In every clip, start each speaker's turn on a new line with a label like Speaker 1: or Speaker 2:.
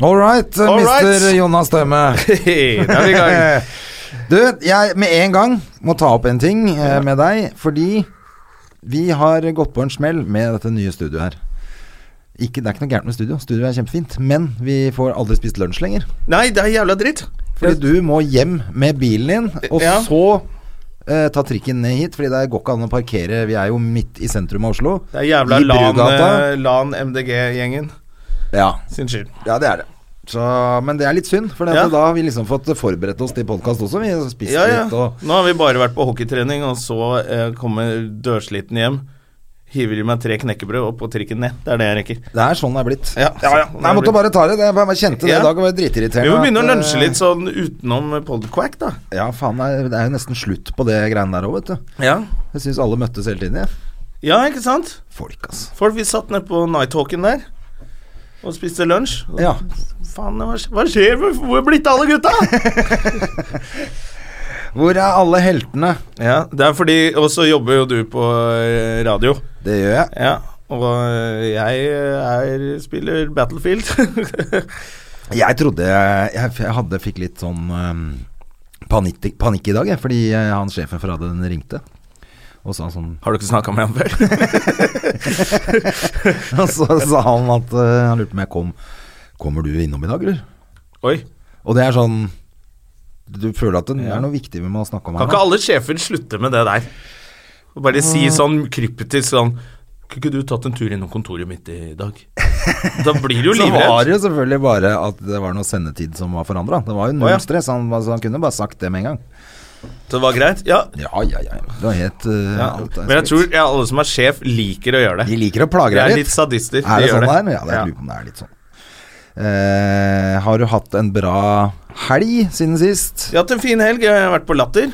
Speaker 1: All right,
Speaker 2: All right.
Speaker 1: mister Jonas Støme.
Speaker 2: Hei, da er vi i gang.
Speaker 1: Du, jeg med en gang må ta opp en ting eh, med deg, fordi vi har gått på en smell med dette nye studioet her. Ikke, det er ikke noe gærent med studio, studio er kjempefint, men vi får aldri spist lunsj lenger.
Speaker 2: Nei, det er jævla dritt.
Speaker 1: Fordi du må hjem med bilen din, og
Speaker 2: Ja.
Speaker 1: så eh, ta trikken ned hit, fordi det går ikke an å parkere. Vi er jo midt i sentrum av Oslo.
Speaker 2: Det er jævla
Speaker 1: I
Speaker 2: LAN,
Speaker 1: Brugata.
Speaker 2: eh, LAN MDG-gjengen
Speaker 1: Ja.
Speaker 2: sin skyld.
Speaker 1: ja, det er det. Så, men det er litt synd, for
Speaker 2: Ja.
Speaker 1: da har vi liksom fått forberedt oss til podkast også. Vi har spist
Speaker 2: Ja, ja.
Speaker 1: litt og
Speaker 2: Nå har vi bare vært på hockeytrening, og så eh, kommer dørsliten hjem. Hiver i meg tre knekkebrød og på trikken ned. Det er det jeg rekker.
Speaker 1: Det er sånn det er blitt.
Speaker 2: Ja.
Speaker 1: ja, ja. Nei, jeg måtte bare ta det. Jeg bare kjente det
Speaker 2: Ja.
Speaker 1: i dag. Det var
Speaker 2: Vi
Speaker 1: dritirriterende.
Speaker 2: må begynne å
Speaker 1: at, eh,
Speaker 2: lunsje litt sånn utenom podquack, da.
Speaker 1: Ja, faen. Det er- det er jo nesten slutt på det greiene der òg, vet du.
Speaker 2: Ja.
Speaker 1: Jeg syns alle møttes hele tiden, jeg.
Speaker 2: ja, ikke sant?
Speaker 1: Folk, altså.
Speaker 2: Folk, vi satt nede på Nighthawken der og spiste lunsj. Og
Speaker 1: Ja.
Speaker 2: Faen, hva skjer? Hva skjer? Hvor- Hvor er blitt av alle gutta?
Speaker 1: Hvor er alle heltene?
Speaker 2: ja, det er fordi Og så jobber jo du på eh, radio.
Speaker 1: Det gjør jeg.
Speaker 2: Ja, og eh, jeg er, spiller Battlefield.
Speaker 1: Jeg trodde jeg, jeg, jeg hadde fikk litt sånn ehm, panikk, panikk i dag, jeg, fordi eh, han sjefen for radioen ringte. Og sa sånn
Speaker 2: Har du ikke snakka med ham før?
Speaker 1: Og så sa han at eh, Han lurte på om jeg kom. Kommer du innom i dag, eller?
Speaker 2: Oi.
Speaker 1: Og det er sånn Du føler at det
Speaker 2: Ja.
Speaker 1: er noe viktig vi må snakke om
Speaker 2: Kan
Speaker 1: da.
Speaker 2: ikke alle sjefer slutte med det der? Og bare si sånn kryptisk sånn Kunne ikke du tatt en tur innom kontoret mitt i dag? Da blir du jo
Speaker 1: Så var
Speaker 2: livredd.
Speaker 1: det jo selvfølgelig bare at det var noe sendetid som var forandra. Det var jo
Speaker 2: Å, ja.
Speaker 1: null stress. Han, altså, han kunne bare sagt det med en gang.
Speaker 2: Så det var greit? Ja.
Speaker 1: Ja, ja, ja. Det var helt uh,
Speaker 2: ja.
Speaker 1: alt er
Speaker 2: Men jeg
Speaker 1: greit.
Speaker 2: tror ja, alle som er sjef, liker å gjøre det.
Speaker 1: De liker å plage
Speaker 2: De
Speaker 1: deg
Speaker 2: er
Speaker 1: litt.
Speaker 2: litt sadister.
Speaker 1: er det
Speaker 2: de gjør
Speaker 1: sånn det er? Ja, det
Speaker 2: det.
Speaker 1: er, lurer på om det er litt sånn. Eh, har du hatt en bra helg siden sist?
Speaker 2: Vi har hatt en fin helg. Jeg har vært på Latter.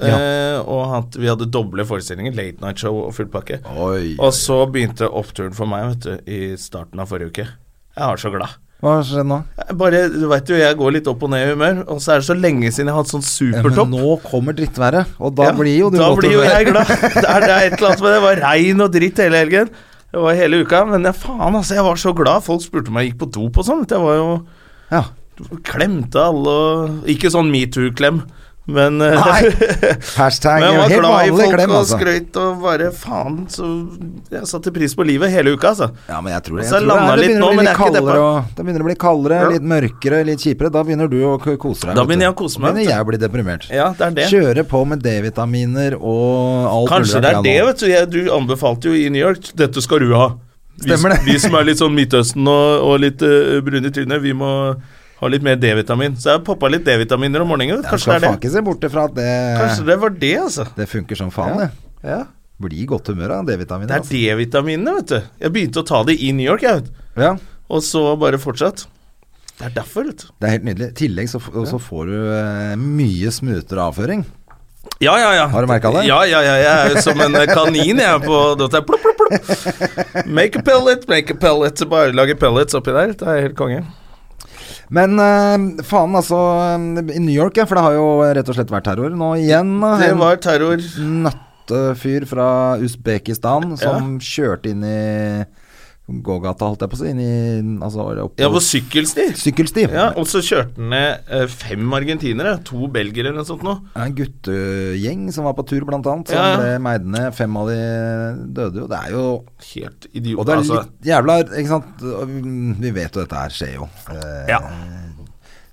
Speaker 2: Eh, og hatt, vi hadde doble forestillinger. Late Night Show og full pakke.
Speaker 1: Oi.
Speaker 2: Og så begynte oppturen for meg vet du, i starten av forrige uke. Jeg var så glad.
Speaker 1: Hva skjedde nå?
Speaker 2: Jeg bare, du vet jo, jeg går litt opp og ned i humør, og så er det så lenge siden jeg har hatt sånn
Speaker 1: Ja, Eh, men
Speaker 2: supertopp.
Speaker 1: nå kommer drittværet, og da
Speaker 2: Ja,
Speaker 1: blir jo du
Speaker 2: da
Speaker 1: godt
Speaker 2: blir jo
Speaker 1: humør.
Speaker 2: jeg glad. Det er, det er et eller annet med det. Det var regn og dritt hele helgen. Det var hele uka, men ja, faen, altså, jeg var så glad. Folk spurte om jeg gikk på do på sånt. Jeg var jo
Speaker 1: Ja.
Speaker 2: Klemte alle og Ikke sånn metoo-klem, men eh,
Speaker 1: Nei. Hashtag
Speaker 2: Men jeg
Speaker 1: jo,
Speaker 2: var
Speaker 1: helt
Speaker 2: glad i
Speaker 1: vanlig
Speaker 2: folk
Speaker 1: klem,
Speaker 2: og
Speaker 1: altså.
Speaker 2: skrøyt og bare faen, så Jeg satte pris på livet hele uka, altså.
Speaker 1: Ja, men jeg tror det.
Speaker 2: Og
Speaker 1: Jeg
Speaker 2: så
Speaker 1: tror det,
Speaker 2: landa
Speaker 1: er- det begynner
Speaker 2: litt nå,
Speaker 1: å bli
Speaker 2: men
Speaker 1: litt
Speaker 2: jeg er ikke
Speaker 1: kaldere,
Speaker 2: deppa.
Speaker 1: og, det begynner å bli kaldere,
Speaker 2: Ja.
Speaker 1: litt mørkere, litt kipere. Da begynner du å k- kose deg.
Speaker 2: Da
Speaker 1: vet du.
Speaker 2: begynner jeg å kose meg,
Speaker 1: Da
Speaker 2: vet
Speaker 1: begynner jeg å bli deprimert.
Speaker 2: Ja, det er det.
Speaker 1: Kjøre på med D-vitaminer og alt
Speaker 2: Kanskje
Speaker 1: mulig
Speaker 2: det er
Speaker 1: rart
Speaker 2: det,
Speaker 1: jeg nå-
Speaker 2: vet du. Jeg, du anbefalte jo i New York Dette skal du ha. Vi,
Speaker 1: Stemmer det.
Speaker 2: vi som er litt sånn Midtøsten og, og litt eh, brune i trynet, vi må ha litt mer D-vitamin. Så jeg poppa litt D-vitaminer om morgenen. vet du.
Speaker 1: Jeg
Speaker 2: Kanskje
Speaker 1: skal
Speaker 2: det
Speaker 1: faen
Speaker 2: er det.
Speaker 1: ikke se bort ifra at det,
Speaker 2: Kanskje det var det, altså.
Speaker 1: det funker som faen, det.
Speaker 2: Ja.
Speaker 1: Blir i godt humør av D-vitaminer.
Speaker 2: Det er D-vitaminene, vet du. Jeg begynte å ta det i New York, jeg, vet du.
Speaker 1: altså. Ja,
Speaker 2: Og så bare fortsatt. Det er derfor, vet du.
Speaker 1: det er helt nydelig. I tillegg så, f- så får du eh, mye smoothere avføring.
Speaker 2: Ja, ja, ja.
Speaker 1: Har du merket det?
Speaker 2: Ja, ja, ja. Jeg er jo som en eh, kanin, jeg, på dette. Plopp, plopp, plopp. Make a pellet, make a pellet. Bare lage pellets oppi der. Det er helt konge.
Speaker 1: Men eh, faen, altså eh, I New York, ja, for det har jo rett og slett vært terror nå igjen. da.
Speaker 2: Det
Speaker 1: En
Speaker 2: var terror.
Speaker 1: nøttefyr fra Usbekistan som kjørte inn i gågata, holdt jeg på å si. Inn i Altså opp på
Speaker 2: Ja, på sykkelsti.
Speaker 1: sykkelsti.
Speaker 2: Ja, og så kjørte han ned eh, fem argentinere, to belgere eller noe sånt nå.
Speaker 1: En guttegjeng som var på tur, blant annet, som
Speaker 2: Ja, ja.
Speaker 1: ble meid ned. Fem av de døde jo. Det er jo
Speaker 2: Helt idiot.
Speaker 1: Og det er
Speaker 2: altså.
Speaker 1: litt jævla Ikke sant? Vi vet jo dette her skjer jo. Eh,
Speaker 2: Ja.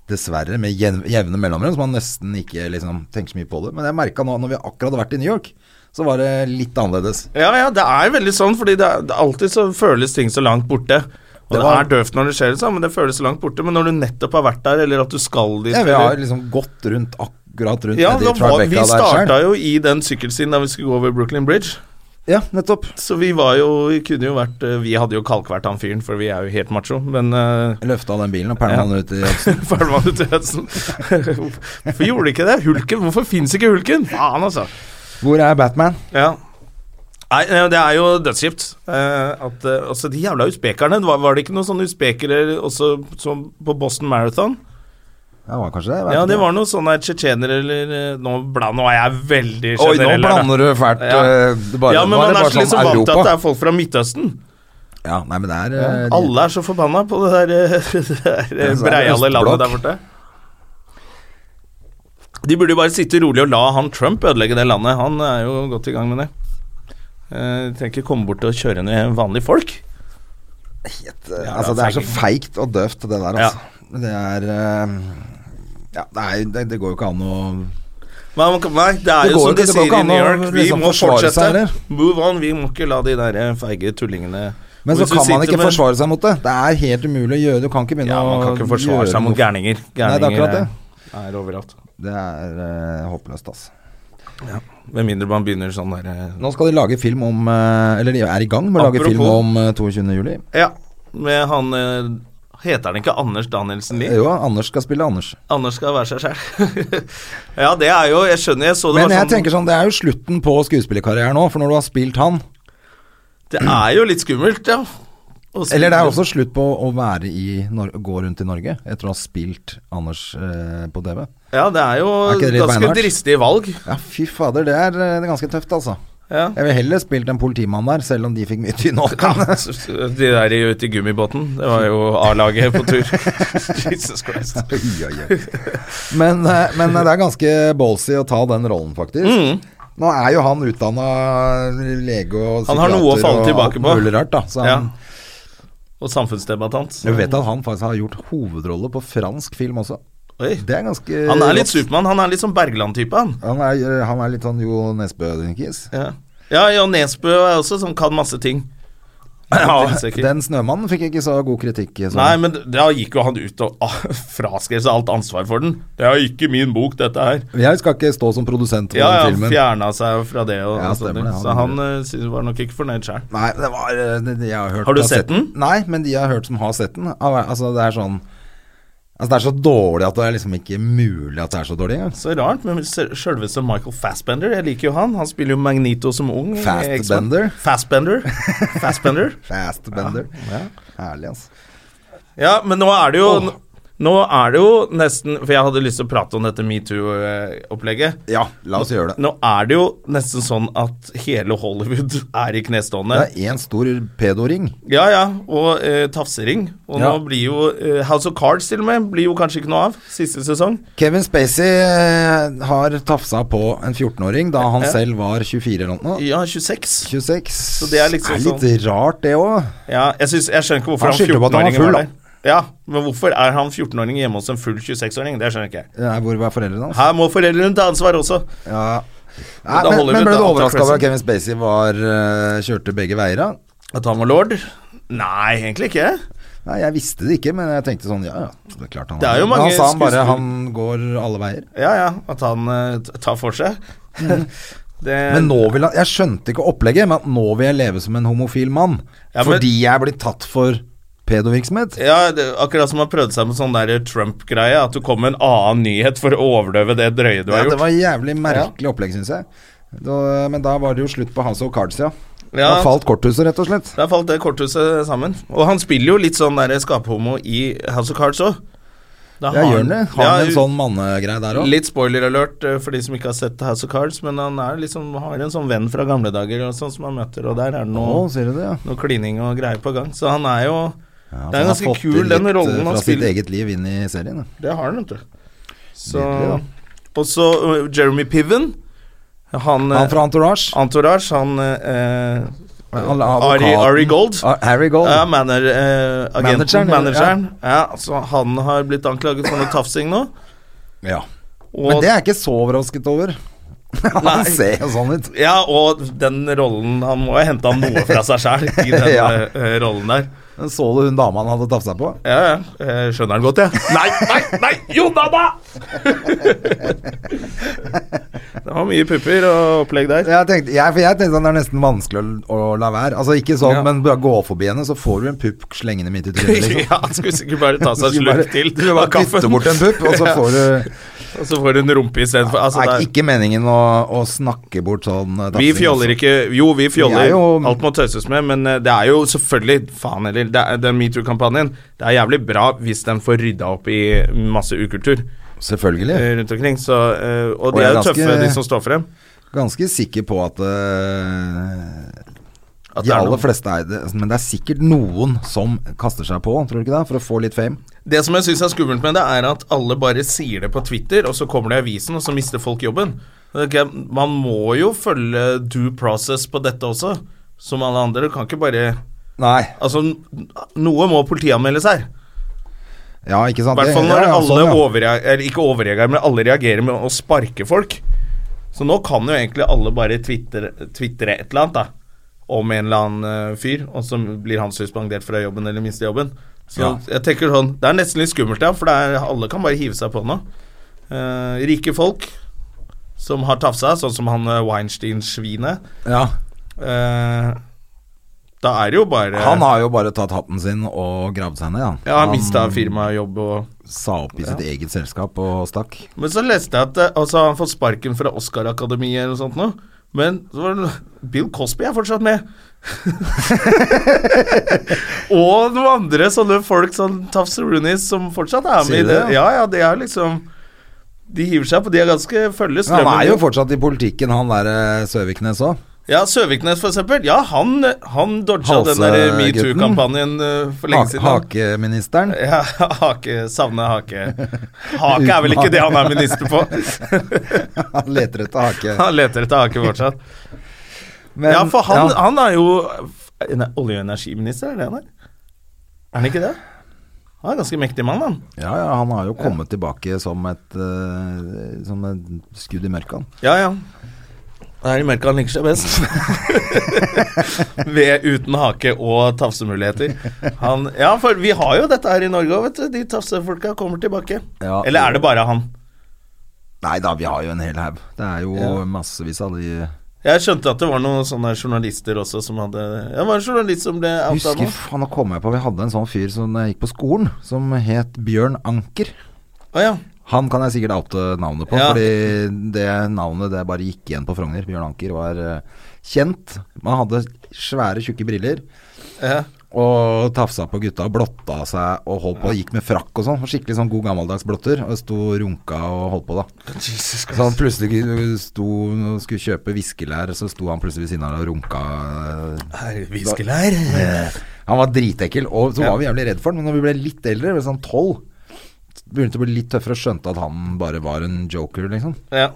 Speaker 1: Dessverre, med jev- jevne mellomrom, så man nesten ikke liksom tenker så mye på det. Men jeg merka nå, når vi akkurat har vært i New York, så var det litt annerledes.
Speaker 2: Ja, ja, det er veldig sånn, fordi det er, det er alltid så føles ting så langt borte. Og
Speaker 1: Det
Speaker 2: det,
Speaker 1: var-
Speaker 2: er døvt når det skjer, liksom, men det føles så langt borte. Men når du nettopp har vært der, eller at du skal dit
Speaker 1: Ja, vi
Speaker 2: eller-
Speaker 1: har liksom gått rundt akkurat rundt
Speaker 2: Ja,
Speaker 1: nedi
Speaker 2: da var,
Speaker 1: Tribeca
Speaker 2: vi
Speaker 1: der
Speaker 2: starta
Speaker 1: selv.
Speaker 2: jo i den sykkelstien da vi skulle gå over Brooklyn Bridge.
Speaker 1: Ja, nettopp.
Speaker 2: Så vi var jo Vi kunne jo vært eh, Vi hadde jo kalkvært han fyren, for vi er jo helt macho, men eh,
Speaker 1: Løfta den bilen og pælma
Speaker 2: Ja.
Speaker 1: den ut i Jadsen.
Speaker 2: Pælma ut i Hudson. Hvorfor gjorde de ikke det? Hulken? Hvorfor fins ikke Hulken? Faen, altså.
Speaker 1: Hvor er Batman?
Speaker 2: Ja. Nei, eh, det er jo dødskjipt. eh, at eh, Altså, de jævla usbekerne. det Var, var det ikke noen sånne usbekere også som på Boston Marathon?
Speaker 1: Ja, det var kanskje det? jeg vet
Speaker 2: Ja,
Speaker 1: ikke.
Speaker 2: det var noen sånne tsjetsjenere eller eh, nå, bla, nå er jeg veldig
Speaker 1: Oi,
Speaker 2: generell.
Speaker 1: nå
Speaker 2: her, da.
Speaker 1: blander du fælt.
Speaker 2: Ja.
Speaker 1: eh, det bare,
Speaker 2: ja, men
Speaker 1: nå
Speaker 2: man
Speaker 1: det
Speaker 2: er
Speaker 1: bare
Speaker 2: så liksom
Speaker 1: sånn
Speaker 2: vant til
Speaker 1: Europa.
Speaker 2: at det er folk fra Midtøsten.
Speaker 1: Ja, nei, men det er eh, de-
Speaker 2: Alle er så forbanna på det der, eh, det der
Speaker 1: så
Speaker 2: eh,
Speaker 1: er det
Speaker 2: breiale landet
Speaker 1: østblokk.
Speaker 2: der borte. De burde jo bare sitte rolig og la han Trump ødelegge det landet. Han er jo godt i gang med det. Eh, Trenger ikke komme bort og kjøre ned vanlige folk.
Speaker 1: helt, eh, Altså, det er så feigt og døvt, det der, altså. Det er eh, Ja, det, er, det, det går jo ikke an å
Speaker 2: Nei, man kan- nei, det er
Speaker 1: Det
Speaker 2: jo
Speaker 1: går
Speaker 2: som
Speaker 1: ikke-
Speaker 2: de
Speaker 1: det går
Speaker 2: sier
Speaker 1: ikke
Speaker 2: i
Speaker 1: an
Speaker 2: New
Speaker 1: å
Speaker 2: York, vi
Speaker 1: liksom
Speaker 2: må
Speaker 1: forsvare seg,
Speaker 2: fortsette.
Speaker 1: eller?
Speaker 2: Move on, vi må ikke la de der eh, feige tullingene
Speaker 1: Men så
Speaker 2: Hvis
Speaker 1: kan
Speaker 2: du
Speaker 1: man
Speaker 2: sitter
Speaker 1: ikke
Speaker 2: med-
Speaker 1: forsvare seg mot det. Det er helt umulig å gjøre. Du kan ikke begynne
Speaker 2: Ja,
Speaker 1: å
Speaker 2: man kan ikke forsvare
Speaker 1: gjøre
Speaker 2: seg
Speaker 1: noe.
Speaker 2: mot
Speaker 1: Nei,
Speaker 2: gærninger.
Speaker 1: det er
Speaker 2: Gærninger eh,
Speaker 1: akkurat det.
Speaker 2: er overalt.
Speaker 1: Det er eh, håpløst, altså.
Speaker 2: Med mindre man begynner sånn der eh,
Speaker 1: Nå skal de lage film om eh, Eller de er i gang med å lage
Speaker 2: Apropos-
Speaker 1: film om eh, 22. juli.
Speaker 2: Ja, med han eh, Heter han ikke Anders Danielsen Lie?
Speaker 1: Jo, Anders skal spille Anders.
Speaker 2: Anders skal være seg sjæl. ja, det er jo Jeg skjønner, jeg så det
Speaker 1: Men
Speaker 2: var
Speaker 1: jeg
Speaker 2: sånn
Speaker 1: tenker sånn, det er jo slutten på skuespillerkarrieren nå, for når du har spilt han
Speaker 2: Det er jo litt skummelt, ja. Å spille-
Speaker 1: Eller det er også slutt på å være i Nor gå rundt i Norge etter å ha spilt Anders eh, på TV.
Speaker 2: Ja, det er jo
Speaker 1: Er ikke det litt
Speaker 2: ganske
Speaker 1: beinhardt?
Speaker 2: dristige valg.
Speaker 1: Ja, fy fader, det er, eh, det er ganske tøft, altså.
Speaker 2: Ja.
Speaker 1: Jeg vil heller spilt en politimann der, selv om de fikk mye tynn
Speaker 2: Ja,
Speaker 1: åkne.
Speaker 2: så- så de der i- ute i gummibåten, det var jo A-laget på tur. Jesus Christ.
Speaker 1: Men, eh, men det er ganske ballsy å ta den rollen, faktisk.
Speaker 2: Mm.
Speaker 1: Nå er jo han utdanna lege og psykiater
Speaker 2: Han har noe å
Speaker 1: og
Speaker 2: falle
Speaker 1: alt
Speaker 2: tilbake på.
Speaker 1: mulig rart, da. Så
Speaker 2: Ja.
Speaker 1: han,
Speaker 2: Og samfunnsdebattant. så-
Speaker 1: Jeg vet at han faktisk har gjort hovedrolle på fransk film også.
Speaker 2: Oi.
Speaker 1: Det er ganske
Speaker 2: Han er litt
Speaker 1: rått.
Speaker 2: Supermann. Han er litt sånn Bergland-type, han.
Speaker 1: Han er, han er litt sånn Jo Nesbø-kiss.
Speaker 2: Ja. ja, Jan Nesbø er også sånn kan masse ting. Ja, sikkert.
Speaker 1: Den snømannen fikk ikke så god kritikk. Så.
Speaker 2: Nei, men da gikk jo han ut og ah, fraskrev seg alt ansvar for den. Det er jo ikke min bok, dette her.
Speaker 1: Jeg skal ikke stå som produsent for
Speaker 2: Ja, ja,
Speaker 1: den filmen.
Speaker 2: fjerna seg fra det og
Speaker 1: Ja,
Speaker 2: og
Speaker 1: stemmer
Speaker 2: sånne ting.
Speaker 1: det,
Speaker 2: Så
Speaker 1: han-
Speaker 2: han eh, synes- var nok ikke fornøyd sjøl.
Speaker 1: Nei, det var eh, det, det jeg har hørt
Speaker 2: Har du
Speaker 1: jeg
Speaker 2: sett den?
Speaker 1: Nei, men de jeg har hørt som har sett den. al- Altså, det er sånn Altså, det er så dårlig at det er liksom ikke mulig at det er så dårlig engang.
Speaker 2: Så rart, men se- sjølveste Michael Fassbender, jeg liker jo han. Han spiller jo Magnito som ung. i X-Men.
Speaker 1: Fastbender.
Speaker 2: Fassbender. Fassbender.
Speaker 1: Fastbender. Ja. Herlig, altså.
Speaker 2: Ja, men nå er det jo Nå er det jo nesten For jeg hadde lyst til å prate om dette metoo-opplegget.
Speaker 1: Ja, la oss gjøre det.
Speaker 2: Nå er det jo nesten sånn at hele Hollywood er i knestående.
Speaker 1: Det er én stor pedoring.
Speaker 2: Ja, ja, og eh, tafsering. Og
Speaker 1: Ja.
Speaker 2: nå blir jo eh, House of Cards til og med blir jo kanskje ikke noe av siste sesong.
Speaker 1: Kevin Spacey eh, har tafsa på en 14-åring da han selv var 24 eller noe.
Speaker 2: Ja, 26.
Speaker 1: 26.
Speaker 2: Så det er liksom
Speaker 1: litt rart, det òg.
Speaker 2: Ja, jeg, synes, jeg skjønner ikke hvorfor
Speaker 1: Han
Speaker 2: han,
Speaker 1: skylder på at han var
Speaker 2: 14-åringen var,
Speaker 1: full,
Speaker 2: der. Ja, men hvorfor er han 14-åringen hjemme hos en full 26-åring? Det skjønner ikke jeg.
Speaker 1: Hvor var foreldrene hans?
Speaker 2: Her må foreldrene ta ansvar også.
Speaker 1: Ja.
Speaker 2: Da
Speaker 1: Nei, men,
Speaker 2: holder vi
Speaker 1: men
Speaker 2: ut
Speaker 1: ble du
Speaker 2: da, alt er
Speaker 1: overraska over
Speaker 2: present.
Speaker 1: at Kevin Spacey var, eh, kjørte begge veier? da?
Speaker 2: At han var lord? Nei, egentlig ikke.
Speaker 1: Nei, jeg visste det ikke, men jeg tenkte sånn Ja, ja, det er klart han
Speaker 2: Det er
Speaker 1: har-
Speaker 2: jo
Speaker 1: Men
Speaker 2: mange
Speaker 1: Han sa han bare
Speaker 2: skuespillere-
Speaker 1: han går alle veier.
Speaker 2: Ja, ja, at han eh, t- tar for seg. Mm. det,
Speaker 1: Men nå vil han Jeg skjønte ikke opplegget, men at nå vil jeg leve som en homofil mann.
Speaker 2: Ja, men-
Speaker 1: Fordi jeg er blitt tatt for pedovirksomhet.
Speaker 2: ja, det, akkurat som han prøvde seg med sånn der Trump-greie, at du kom med en annen nyhet for å overdøve det drøye du
Speaker 1: Ja,
Speaker 2: har
Speaker 1: det
Speaker 2: gjort.
Speaker 1: var jævlig merkelig opplegg, syns jeg. Da, men da var det jo slutt på House of Cards, ja.
Speaker 2: Ja.
Speaker 1: Da falt korthuset, rett og slett.
Speaker 2: Der falt det korthuset sammen. Og han spiller jo litt sånn der skaphomo i House of Cards òg.
Speaker 1: Ja, gjør han det? Har han en sånn mannegreie der òg?
Speaker 2: Litt spoiler alert eh, for de som ikke har sett House of Cards, men han er liksom, har en sånn venn fra gamle dager og sånn som han møter, og der er det
Speaker 1: Å,
Speaker 2: noe,
Speaker 1: sier du det, ja.
Speaker 2: noe klining og greier på gang. Så han er jo
Speaker 1: ja så han
Speaker 2: Det er
Speaker 1: har
Speaker 2: ganske
Speaker 1: fått
Speaker 2: kul,
Speaker 1: det
Speaker 2: den
Speaker 1: litt,
Speaker 2: rollen
Speaker 1: eh,
Speaker 2: han
Speaker 1: Fra sitt
Speaker 2: spiller.
Speaker 1: eget liv inn i serien. ja.
Speaker 2: Det har han, vet du. Så
Speaker 1: Nydelig,
Speaker 2: Og så eh, Jeremy Piven. Han,
Speaker 1: Han fra Entourage.
Speaker 2: Antorage, han eh,
Speaker 1: Han-
Speaker 2: Ari,
Speaker 1: advokaten.
Speaker 2: Ari Gold.
Speaker 1: Ah, Harry Gold.
Speaker 2: Ja, manager, eh, agenten,
Speaker 1: Manageren,
Speaker 2: manageren.
Speaker 1: eller?
Speaker 2: Ja. så han har blitt anklaget for noe tafsing nå.
Speaker 1: Ja.
Speaker 2: Og,
Speaker 1: Men det er jeg ikke så overrasket over.
Speaker 2: Nei.
Speaker 1: Han ser jo sånn ut.
Speaker 2: Ja, og den rollen Han må ha henta noe fra seg sjæl i den
Speaker 1: Ja.
Speaker 2: eh, eh, rollen der.
Speaker 1: Så du hun dama han hadde tafsa på?
Speaker 2: Ja, ja. Jeg skjønner den godt, jeg. Nei, nei, nei! Jonna, da! Det var mye pupper og opplegg der.
Speaker 1: Jeg tenkte, jeg, for jeg tenkte sånn, det er nesten vanskelig å, å la være. Altså ikke sånn,
Speaker 2: Ja.
Speaker 1: men bare gå forbi henne, så får du en pupp slengende midt i trynet. Liksom.
Speaker 2: Ja, han skulle sikkert bare ta seg en
Speaker 1: Du
Speaker 2: slurk
Speaker 1: bare-
Speaker 2: til
Speaker 1: Du
Speaker 2: av
Speaker 1: bare
Speaker 2: kaffen,
Speaker 1: dytter bort en pupp, og så får du
Speaker 2: og så får du en rumpe istedenfor. Altså,
Speaker 1: Det er
Speaker 2: det er-
Speaker 1: ikke meningen å, å snakke bort sånn eh,
Speaker 2: vi
Speaker 1: tafsing,
Speaker 2: fjoller
Speaker 1: altså.
Speaker 2: ikke Jo, vi
Speaker 1: Vi
Speaker 2: fjoller.
Speaker 1: er jo-
Speaker 2: Alt må tøyses med, men eh, det er jo selvfølgelig Faen heller. det er- Den metoo-kampanjen Det er jævlig bra hvis den får rydda opp i masse ukultur
Speaker 1: Selvfølgelig.
Speaker 2: eh, rundt omkring. Så, eh, og de
Speaker 1: jeg er
Speaker 2: er jo
Speaker 1: ganske-
Speaker 2: tøffe, de som står frem.
Speaker 1: Ganske sikker på at eh,
Speaker 2: At
Speaker 1: de
Speaker 2: det er
Speaker 1: aller
Speaker 2: noe.
Speaker 1: fleste er det, men det er sikkert noen som kaster seg på, tror du ikke det? For å få litt fame.
Speaker 2: Det som jeg syns er skummelt med det, er at alle bare sier det på Twitter, og så kommer det i avisen, og så mister folk jobben. Ok, Man må jo følge due process på dette også, som alle andre. Du kan ikke bare
Speaker 1: Nei.
Speaker 2: Altså, n- noe må politianmeldes her.
Speaker 1: Ja, ikke
Speaker 2: I
Speaker 1: sant?
Speaker 2: hvert
Speaker 1: Det-
Speaker 2: fall når
Speaker 1: ja, ja,
Speaker 2: alle
Speaker 1: sånn, ja.
Speaker 2: overreagerer, eller ikke overreagerer, men alle reagerer med å sparke folk. Så nå kan jo egentlig alle bare twitre twitre et eller annet, da. Om en eller annen eh, fyr, og så blir han suspendert fra jobben eller mister jobben. Så
Speaker 1: Ja.
Speaker 2: jeg tenker sånn Det er nesten litt skummelt, ja, for det er, alle kan bare hive seg på nå. Eh, rike folk som har tafsa, sånn som han eh, Weinstein-svinet.
Speaker 1: Ja.
Speaker 2: Eh, da er det jo bare
Speaker 1: Han har jo bare tatt hatten sin og gravd seg ned, han.
Speaker 2: Ja,
Speaker 1: han
Speaker 2: mista firmajobb og
Speaker 1: sa opp i sitt eget selskap og stakk.
Speaker 2: Men så leste jeg at eh, altså, han har fått sparken fra Oscar-akademiet eller noe sånt nå. Men så var det, Bill Cosby er fortsatt med. og noen andre sånne folk sånn som Tafs Roonies som fortsatt er med.
Speaker 1: Sier
Speaker 2: i det.
Speaker 1: det,
Speaker 2: Ja, ja, det er liksom De hiver seg på. De er ganske følge
Speaker 1: Men han
Speaker 2: strømmen.
Speaker 1: er jo fortsatt i politikken, han der eh, Søviknes òg.
Speaker 2: Ja, Søviknes, for eksempel. Ja, han, han dodga den der
Speaker 1: Halsegutten.
Speaker 2: metoo-kampanjen eh, for lenge siden. han.
Speaker 1: hakeministeren.
Speaker 2: Ja, hake, savne hake. Hake er vel ikke det han er minister på.
Speaker 1: Han leter etter hake.
Speaker 2: Han leter etter hake fortsatt.
Speaker 1: Men-
Speaker 2: ja, for han,
Speaker 1: ja.
Speaker 2: han er jo ne, olje- og energiminister, er det han er? Er han ikke det? Han er en ganske mektig mann, han.
Speaker 1: ja, ja, han har jo kommet tilbake som et, eh, som et skudd i mørket. han.
Speaker 2: Ja, ja. Det er i mørket han liker seg best. Ved uten hake og tafsemuligheter. Han, ja, for vi har jo dette her i Norge òg, vet du. De tafsefolka kommer tilbake.
Speaker 1: Ja.
Speaker 2: Eller er det bare han?
Speaker 1: Nei da, vi har jo en hel haug. Det er jo
Speaker 2: Ja.
Speaker 1: massevis av de
Speaker 2: Jeg skjønte at det var noen sånne journalister også som hadde Ja, det var en journalist som ble outa
Speaker 1: Husker
Speaker 2: nå.
Speaker 1: faen, nå kom jeg på Vi hadde en sånn fyr som jeg gikk på skolen, som het Bjørn Anker.
Speaker 2: Å ja.
Speaker 1: Han kan jeg sikkert oute navnet på,
Speaker 2: Ja.
Speaker 1: fordi det navnet det bare gikk igjen på Frogner. Bjørn Anker var eh, kjent. Man hadde svære, tjukke briller
Speaker 2: ja.
Speaker 1: og tafsa på gutta, blotta seg og holdt på, gikk med frakk og sånn. Skikkelig sånn god gammeldags blotter. Og sto og runka og holdt på, da.
Speaker 2: Jesus Christ.
Speaker 1: Så han plutselig sto og skulle kjøpe viskelær, så sto han plutselig ved siden av deg og runka.
Speaker 2: Herre, viskelær.
Speaker 1: Eh, Han var dritekkel, og så
Speaker 2: Ja.
Speaker 1: var vi jævlig redd for han. Men når vi ble litt eldre, vi ble sånn tolv, begynte å bli litt tøffere og skjønte at han bare var en joker, liksom.
Speaker 2: Ja.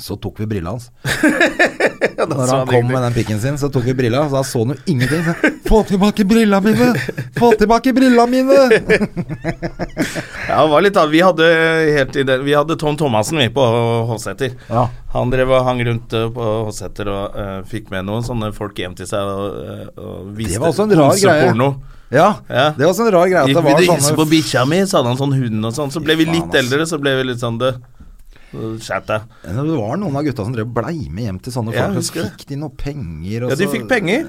Speaker 1: Så tok vi brilla hans.
Speaker 2: Ja, da
Speaker 1: Når
Speaker 2: sa
Speaker 1: han kom
Speaker 2: ingenting.
Speaker 1: med den pikken sin, så tok vi brilla, så da så han jo ingenting. Så, Få tilbake brilla mine! Få tilbake brilla mine!
Speaker 2: Ja, det var litt av, vi hadde, helt i det, vi hadde Tom Thomassen vi på Håseter.
Speaker 1: Ja.
Speaker 2: Han drev og hang rundt eh, på Håseter og eh, fikk med noen sånne folk hjem til seg og, eh, og viste
Speaker 1: Det var også en rar greie.
Speaker 2: homseporno.
Speaker 1: Ja,
Speaker 2: Ja.
Speaker 1: det var sånn rar greie at
Speaker 2: Gikk
Speaker 1: det
Speaker 2: vi
Speaker 1: var
Speaker 2: til hilse på
Speaker 1: sånne
Speaker 2: bikkja mi, så hadde han sånn hund og sånn. Så ble vi
Speaker 1: Fy faen,
Speaker 2: litt
Speaker 1: ass.
Speaker 2: eldre, så ble vi litt sånn død. Skjæt deg.
Speaker 1: Det var noen av gutta som drev og blei med hjem til sånne
Speaker 2: Ja, jeg
Speaker 1: folk. Så
Speaker 2: husker det.
Speaker 1: fikk de noe penger. og
Speaker 2: Ja, de
Speaker 1: så
Speaker 2: fikk penger.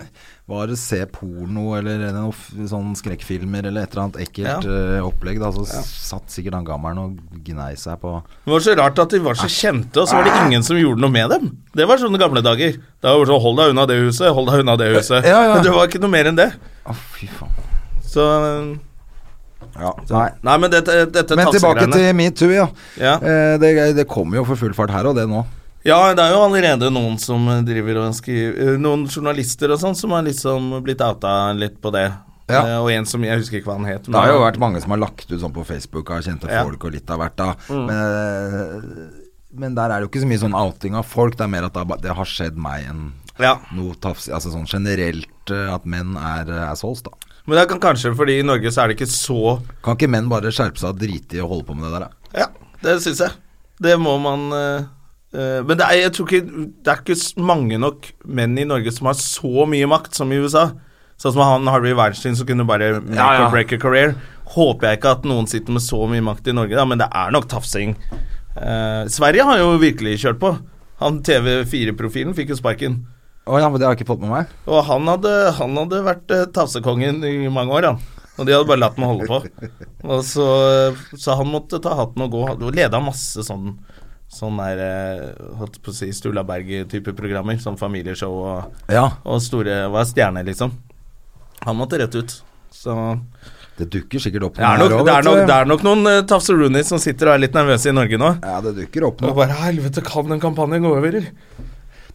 Speaker 1: Var det se porno eller noe f- sånn skrekkfilmer eller et eller annet ekkelt eh, opplegg. Da, så s- satt sikkert han gammelen og gnei seg på
Speaker 2: Det var så rart at de var så kjente, og så var det ingen som gjorde noe med dem. Det var sånne gamle dager. Da var det sånn Hold deg unna det huset, hold deg unna det huset.
Speaker 1: Ja, ja.
Speaker 2: Men Det var ikke noe mer enn det.
Speaker 1: Å, fy faen.
Speaker 2: Så eh,
Speaker 1: Ja, nei.
Speaker 2: Nei, men dette, dette
Speaker 1: Men tilbake
Speaker 2: tafsegreiene-
Speaker 1: til metoo, ja.
Speaker 2: Ja.
Speaker 1: Eh, det, det kommer jo for full fart her og det nå.
Speaker 2: Ja, det er jo allerede noen som driver og skriver eh, Noen journalister og sånn som har liksom blitt outa litt på det.
Speaker 1: Ja.
Speaker 2: Eh, Og en som Jeg husker ikke hva han het.
Speaker 1: Det har jo vært mange som har lagt ut sånn på Facebook av kjente
Speaker 2: Ja.
Speaker 1: folk og litt av hvert, da. Men, men der er det jo ikke så mye sånn outing av folk. Det er mer at det, er ba- det har skjedd meg enn
Speaker 2: Ja.
Speaker 1: noe tafs... Altså sånn generelt eh, at menn er eh, assholes, da.
Speaker 2: Men det kan kanskje fordi i Norge så er det ikke så
Speaker 1: Kan ikke menn bare skjerpe seg og drite i å holde på med det der, da?
Speaker 2: Ja, det syns jeg. Det må man eh, eh, Men det er, jeg tror ikke, det er ikke s- mange nok menn i Norge som har så mye makt som i USA. Sånn som han Harvey Weinstein som kunne bare make
Speaker 1: Ja, ja.
Speaker 2: or break a career. Håper jeg ikke at noen sitter med så mye makt i Norge, da, men det er nok tafsing. Eh, Sverige har jo virkelig kjørt på. Han TV4-profilen fikk jo sparken.
Speaker 1: Å ja, men det har jeg ikke fått med meg.
Speaker 2: Og han hadde, han hadde vært eh, tafsekongen i mange år, han. Og de hadde bare latt meg holde på. Og så, eh, så han måtte ta hatten og gå. Og leda masse sånn Sånn der eh, holdt på å si Sturla Berg-type programmer. Sånn familieshow og,
Speaker 1: Ja,
Speaker 2: og store Var stjerne, liksom. Han måtte rett ut. Så
Speaker 1: det dukker sikkert opp
Speaker 2: det er nok,
Speaker 1: her også,
Speaker 2: det er nok,
Speaker 1: vet du.
Speaker 2: det er nok noen uh, tafseroonies som sitter og er litt nervøse i Norge nå.
Speaker 1: Ja, det dukker opp
Speaker 2: Og
Speaker 1: noe.
Speaker 2: bare Helvete, kan den kampanjen gå over, eller?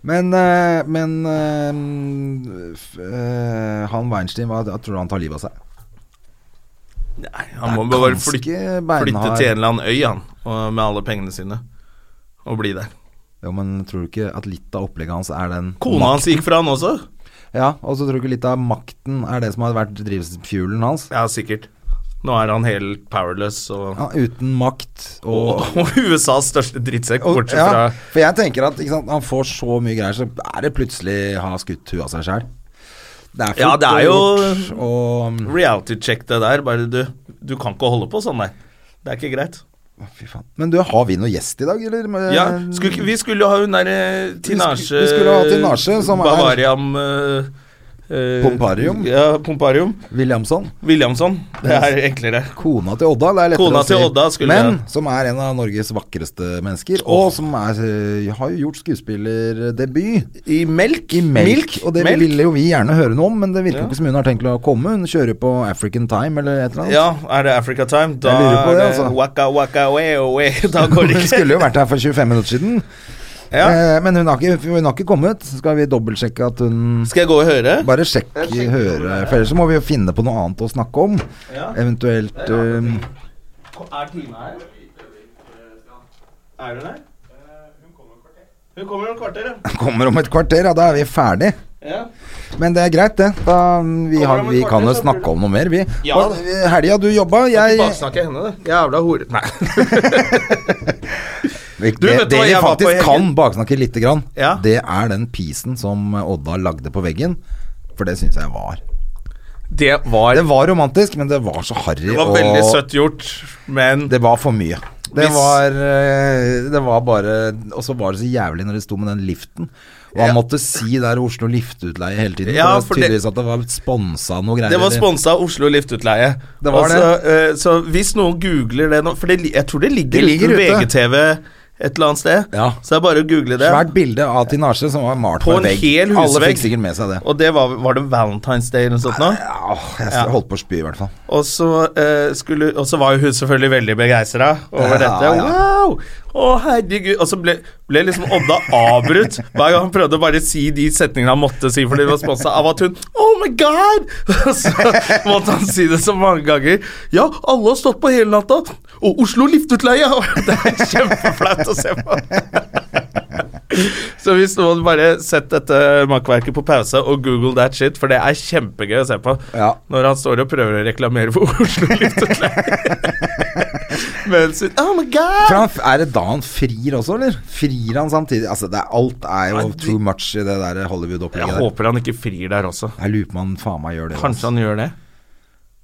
Speaker 1: Men, eh, men eh, f- eh, han Weinstein, hva jeg tror du han tar livet av seg?
Speaker 2: Nei, han må bare
Speaker 1: ganske
Speaker 2: flytte,
Speaker 1: beinhard.
Speaker 2: flytte til en eller annen øy, han, og, med alle pengene sine, og bli der.
Speaker 1: Jo, men tror du ikke at litt av opplegget hans er den
Speaker 2: Kona hans gikk fra han også?
Speaker 1: Ja, og så tror du ikke litt av makten er det som har vært drivfuelen hans?
Speaker 2: Ja, sikkert. Nå er han helt powerless og
Speaker 1: Ja, uten makt og
Speaker 2: og, og USAs største drittsekk,
Speaker 1: og-
Speaker 2: bortsett
Speaker 1: ja,
Speaker 2: fra
Speaker 1: For jeg tenker at ikke sant, han får så mye greier, så er det plutselig ha skutt huet av seg sjæl. Det er
Speaker 2: Ja, det er
Speaker 1: fort
Speaker 2: jo-
Speaker 1: gjort, og
Speaker 2: reality check det der. Bare du, du kan ikke holde på sånn der. Det er ikke greit.
Speaker 1: Å, Fy faen. Men du, har vi noe gjest i dag, eller? eh,
Speaker 2: Ja, skulle, ikke- vi skulle jo ha hun eh, derre Tinasje
Speaker 1: vi skulle ha Tinasje, som er-
Speaker 2: Bavariam eh, eh,
Speaker 1: Pomparium.
Speaker 2: Ja, Pomparium.
Speaker 1: Williamson.
Speaker 2: Williamson. Det er enklere.
Speaker 1: Kona til Odda. Det er lettere
Speaker 2: Kona
Speaker 1: å si.
Speaker 2: til Odda skulle
Speaker 1: Men
Speaker 2: jeg-
Speaker 1: som er en av Norges vakreste mennesker, og som er, eh, har jo gjort skuespillerdebut.
Speaker 2: I melk?
Speaker 1: I melk, og det
Speaker 2: Melk?
Speaker 1: ville jo vi gjerne høre noe om, men det virker jo
Speaker 2: Ja.
Speaker 1: ikke som hun har tenkt å komme. Hun kjører på African Time eller et eller annet.
Speaker 2: Ja, er det Africa time? Da
Speaker 1: Jeg lurer på
Speaker 2: er
Speaker 1: det,
Speaker 2: det
Speaker 1: altså.
Speaker 2: waka waka way away. Da går det
Speaker 1: Hun
Speaker 2: ikke.
Speaker 1: skulle jo vært her for 25 minutter siden,
Speaker 2: Ja.
Speaker 1: eh, men hun har, ikke, hun har ikke kommet. Skal vi dobbeltsjekke at hun
Speaker 2: Skal jeg gå og høre?
Speaker 1: Bare sjekk, høre, for ellers så må vi jo finne på noe annet å snakke om.
Speaker 2: Ja.
Speaker 1: Eventuelt eh,
Speaker 2: Er Tina her? Er Eh, hun her? Hun kommer om kvarter. Hun
Speaker 1: Kommer om et kvarter, ja, da er vi ferdig.
Speaker 2: kommer om kvarter,
Speaker 1: Men det er greit, det. Da, mm, vi,
Speaker 2: Kommer
Speaker 1: har,
Speaker 2: om et
Speaker 1: vi
Speaker 2: kvarter,
Speaker 1: kan jo
Speaker 2: så blir det-
Speaker 1: snakke om noe mer, vi.
Speaker 2: Ja.
Speaker 1: Og, eh, Helga, du jobba.
Speaker 2: ja.
Speaker 1: Jeg
Speaker 2: Tilbakesnakk jeg henne, det. Jævla hore. Nei.
Speaker 1: Det,
Speaker 2: Du, vet du
Speaker 1: det
Speaker 2: hva
Speaker 1: vi
Speaker 2: jeg var på
Speaker 1: faktisk
Speaker 2: i
Speaker 1: kan
Speaker 2: helgen?
Speaker 1: baksnakke lite grann,
Speaker 2: Ja.
Speaker 1: det er den pisen som Odda lagde på veggen. For det syns jeg var
Speaker 2: Det var
Speaker 1: Det var romantisk, men det var så harry.
Speaker 2: Det var
Speaker 1: og
Speaker 2: veldig søtt gjort, men
Speaker 1: Det var for mye. Det
Speaker 2: Hvis-
Speaker 1: var eh, Det var bare Og så var det så jævlig når de sto med den liften. Og han
Speaker 2: Ja.
Speaker 1: måtte si der Oslo Liftutleie hele tiden.
Speaker 2: Ja,
Speaker 1: for
Speaker 2: for
Speaker 1: det var
Speaker 2: det-
Speaker 1: tydeligvis at det var sponsa noe greier.
Speaker 2: det var sponsa av Oslo Liftutleie.
Speaker 1: Det var
Speaker 2: Altså, eh, så hvis noen googler det nå For det, li- jeg tror det ligger,
Speaker 1: Det ligger
Speaker 2: ute på
Speaker 1: ute.
Speaker 2: VGTV et eller annet sted.
Speaker 1: Ja.
Speaker 2: Så det er bare å google det.
Speaker 1: Svært bilde av Tinasje som var malt
Speaker 2: På
Speaker 1: på
Speaker 2: en
Speaker 1: en vegg.
Speaker 2: hel
Speaker 1: Alle
Speaker 2: husvegg.
Speaker 1: fikk sikkert med seg det.
Speaker 2: Og det var, var det Valentine's Day eller noe sånt nå?
Speaker 1: Ja, jeg
Speaker 2: Ja.
Speaker 1: holdt på å spy, i hvert fall.
Speaker 2: Og så, eh, skulle, og så var jo hun selvfølgelig veldig begeistra over
Speaker 1: Ja,
Speaker 2: dette.
Speaker 1: ja.
Speaker 2: Wow! Å, herregud. Og så ble, ble liksom Odda avbrutt hver gang han prøvde å bare si de setningene han måtte si, fordi det var sponsa av at hun Oh my God! Og så måtte han si det så mange ganger. Ja, alle har stått på hele natta. Og Oslo Liftutleie! Det er kjempeflaut å se på. Så hvis noen bare setter dette makkverket på pause og google that shit, for det er kjempegøy å se på
Speaker 1: Ja.
Speaker 2: når han står og prøver å reklamere for Oslo Luftutleie. Mens hun Oh my
Speaker 1: For
Speaker 2: god!
Speaker 1: han, er det da han frir også, eller? Frir han samtidig? Altså, det er, alt er jo
Speaker 2: Ja, det-
Speaker 1: too much i det der
Speaker 2: Jeg
Speaker 1: Hollywood-opplegget der.
Speaker 2: håper han ikke frir der også.
Speaker 1: Jeg lurer på om han faen meg gjør det.
Speaker 2: Kanskje han gjør det.
Speaker 1: altså.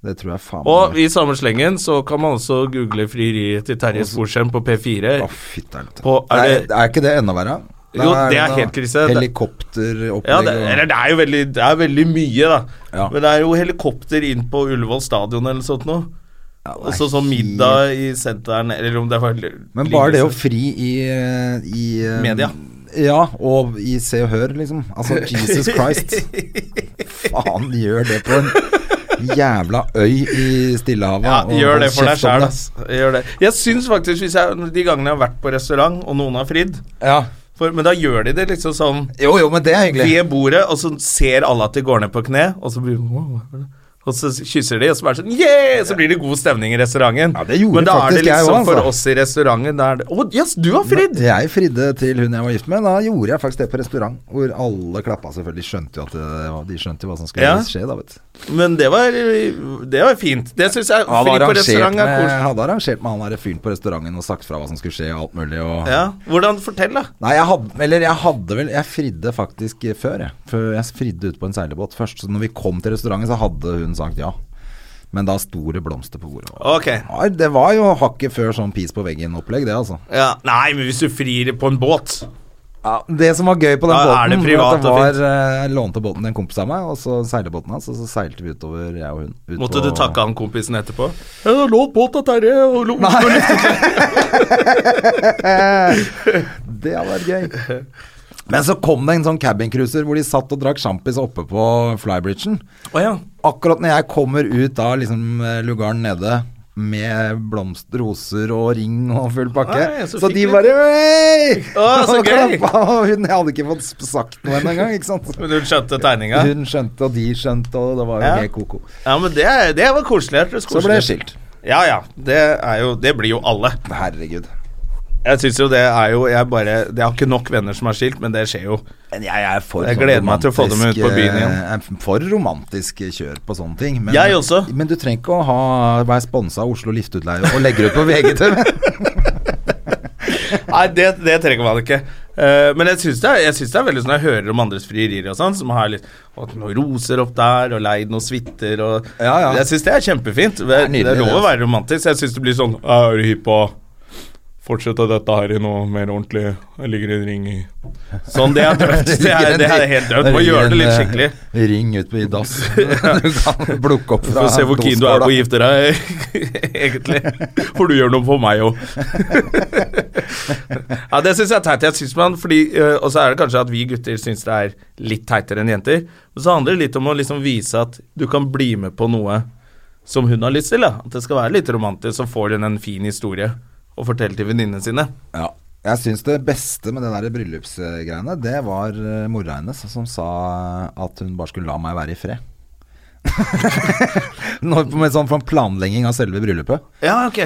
Speaker 1: Det tror jeg faen
Speaker 2: Og
Speaker 1: meg
Speaker 2: i samme slengen så kan man også google frieriet til Terje Sporsem på P4.
Speaker 1: Å, fytter'n.
Speaker 2: På- er
Speaker 1: Er,
Speaker 2: det-
Speaker 1: er ikke det enda verre? Da
Speaker 2: Jo, det er
Speaker 1: noe
Speaker 2: helt krise. Det- Ja,
Speaker 1: Helikopteropplegg
Speaker 2: det, eller det er jo veldig, det er veldig mye, da.
Speaker 1: Ja.
Speaker 2: Men det er jo helikopter inn på Ullevål stadion eller sånt noe.
Speaker 1: det er
Speaker 2: Og så sånn middag i senteren, eller om det var
Speaker 1: Men bare det å fri i, eh, i eh,
Speaker 2: Media.
Speaker 1: Ja, og i Se og Hør, liksom. Altså, Jesus Christ. Faen, gjør det på en jævla øy i Stillehavet.
Speaker 2: Ja,
Speaker 1: og
Speaker 2: gjør
Speaker 1: hold
Speaker 2: det for
Speaker 1: kjeft om
Speaker 2: deg sjæl,
Speaker 1: det.
Speaker 2: ass. Gjør det. Jeg syns faktisk, hvis jeg, de gangene jeg har vært på restaurant, og noen har fridd
Speaker 1: Ja.
Speaker 2: for, Men da gjør de det liksom sånn
Speaker 1: Jo, jo, men det er hyggelig.
Speaker 2: ved bordet, og så ser alle at de går ned på kne, og så blir det, wow, hva er det? og så kysser de, og så bare sånn Yeah! Så blir det god stemning i restauranten.
Speaker 1: Ja, det gjorde
Speaker 2: Men da er det
Speaker 1: faktisk jeg
Speaker 2: liksom
Speaker 1: også, altså.
Speaker 2: for oss i restauranten da er det Å, yes, du har fridd!
Speaker 1: Jeg fridde til hun jeg var gift med. Da gjorde jeg faktisk det på restaurant. Hvor alle klappa selvfølgelig. Skjønte jo at det, var- de skjønte jo hva som skulle
Speaker 2: Ja.
Speaker 1: skje, da, vet du.
Speaker 2: Men det var, det var fint. Det syns jeg.
Speaker 1: Hadde
Speaker 2: Fri på
Speaker 1: arrangert,
Speaker 2: restaurant er
Speaker 1: med,
Speaker 2: koselig.
Speaker 1: hadde arrangert med han derre fyren på restauranten og sagt fra hva som skulle skje og alt mulig. Og
Speaker 2: Ja. Hvordan? Fortell, da.
Speaker 1: Nei, jeg hadde, eller jeg hadde vel Jeg fridde faktisk før, jeg. Før jeg fridde ut på en seilbåt først. Så når vi kom til restauranten, så hadde hun sagt ja. Men da sto det blomster på bordet.
Speaker 2: Ok.
Speaker 1: Ja, Det var jo hakket før sånn pis på veggen-opplegg, det altså.
Speaker 2: Ja. Nei, men hvis du frir på en båt
Speaker 1: Det som var gøy på den
Speaker 2: Ja, er det
Speaker 1: båten, var at
Speaker 2: privat
Speaker 1: det
Speaker 2: og
Speaker 1: var,
Speaker 2: fint?
Speaker 1: eh, jeg lånte båten til en kompis av meg, og så seilbåten hans, og så seilte vi utover, jeg og hun. ut
Speaker 2: Måtte
Speaker 1: på-
Speaker 2: du takke han kompisen etterpå? Jeg har lånt båt av Terje og lo- Oslo Lufthavn.
Speaker 1: Det hadde vært gøy. Men så kom det en sånn cabincruiser hvor de satt og drakk sjampis oppe på flybridgen.
Speaker 2: Å ja.
Speaker 1: Akkurat når jeg kommer ut av liksom, eh, lugaren nede med blomst, roser og ring og full pakke,
Speaker 2: Nei,
Speaker 1: så,
Speaker 2: så fikk
Speaker 1: de
Speaker 2: vi-
Speaker 1: bare «Hei!»
Speaker 2: Å, så
Speaker 1: Og
Speaker 2: gøy!
Speaker 1: klappa, og Hun jeg hadde ikke fått sp- sagt noe ennå engang, ikke sant.
Speaker 2: Men du skjønte tegninga?
Speaker 1: Hun skjønte, og de skjønte, og det var jo
Speaker 2: Ja.
Speaker 1: helt ko-ko.
Speaker 2: Ja, men det, det var koselig. Det var
Speaker 1: Så ble
Speaker 2: koselig.
Speaker 1: jeg skilt.
Speaker 2: Ja ja. Det, er jo, det blir jo alle.
Speaker 1: Herregud.
Speaker 2: Jeg syns jo det er jo Jeg bare Jeg har ikke nok venner som er skilt, men det skjer jo.
Speaker 1: Men jeg er for
Speaker 2: Jeg
Speaker 1: sånn
Speaker 2: gleder meg til å få dem ut på
Speaker 1: romantisk,
Speaker 2: byen igjen.
Speaker 1: eh, Jeg er for romantisk kjør på sånne ting. Men,
Speaker 2: Jeg også.
Speaker 1: Men du trenger ikke å ha, være sponsa av Oslo Liftutleie og legge det ut på VGTV.
Speaker 2: Nei, det, det trenger man ikke. Eh, men jeg syns det, er- jeg syns det er veldig sånn jeg hører om andres frierier og sånn, som har litt og noen roser opp der, og leid noen suiter og
Speaker 1: Ja, ja.
Speaker 2: Jeg syns det er kjempefint. Det er,
Speaker 1: nydelig,
Speaker 2: det er lov
Speaker 1: det,
Speaker 2: å være romantisk. Jeg syns det blir sånn «Ja, Er du hypp på å fortsette dette her i noe mer ordentlig? Jeg ligger i en ring i Sånn, det er dødt. Det er, det er helt dødt. Må gjøre det litt skikkelig.
Speaker 1: eh, Ring ut i dass. Du kan blukke opp fra
Speaker 2: Få se hvor keen du er på å
Speaker 1: dasskåla.
Speaker 2: gifte deg, egentlig. For du gjør noe for meg òg. ja, det syns jeg er teit. Jeg synes man, fordi, øh, Og så er det kanskje at vi gutter syns det er litt teitere enn jenter. Men så handler det litt om å liksom vise at du kan bli med på noe som hun har lyst til. Da. At det skal være litt romantisk, så får hun en fin historie å fortelle til venninnene sine.
Speaker 1: Ja. Jeg syns det beste med det der bryllupsgreiene, det var eh, mora hennes som sa at hun bare skulle la meg være i fred. Når, med sånn for en planlegging av selve bryllupet.
Speaker 2: Ja, ok.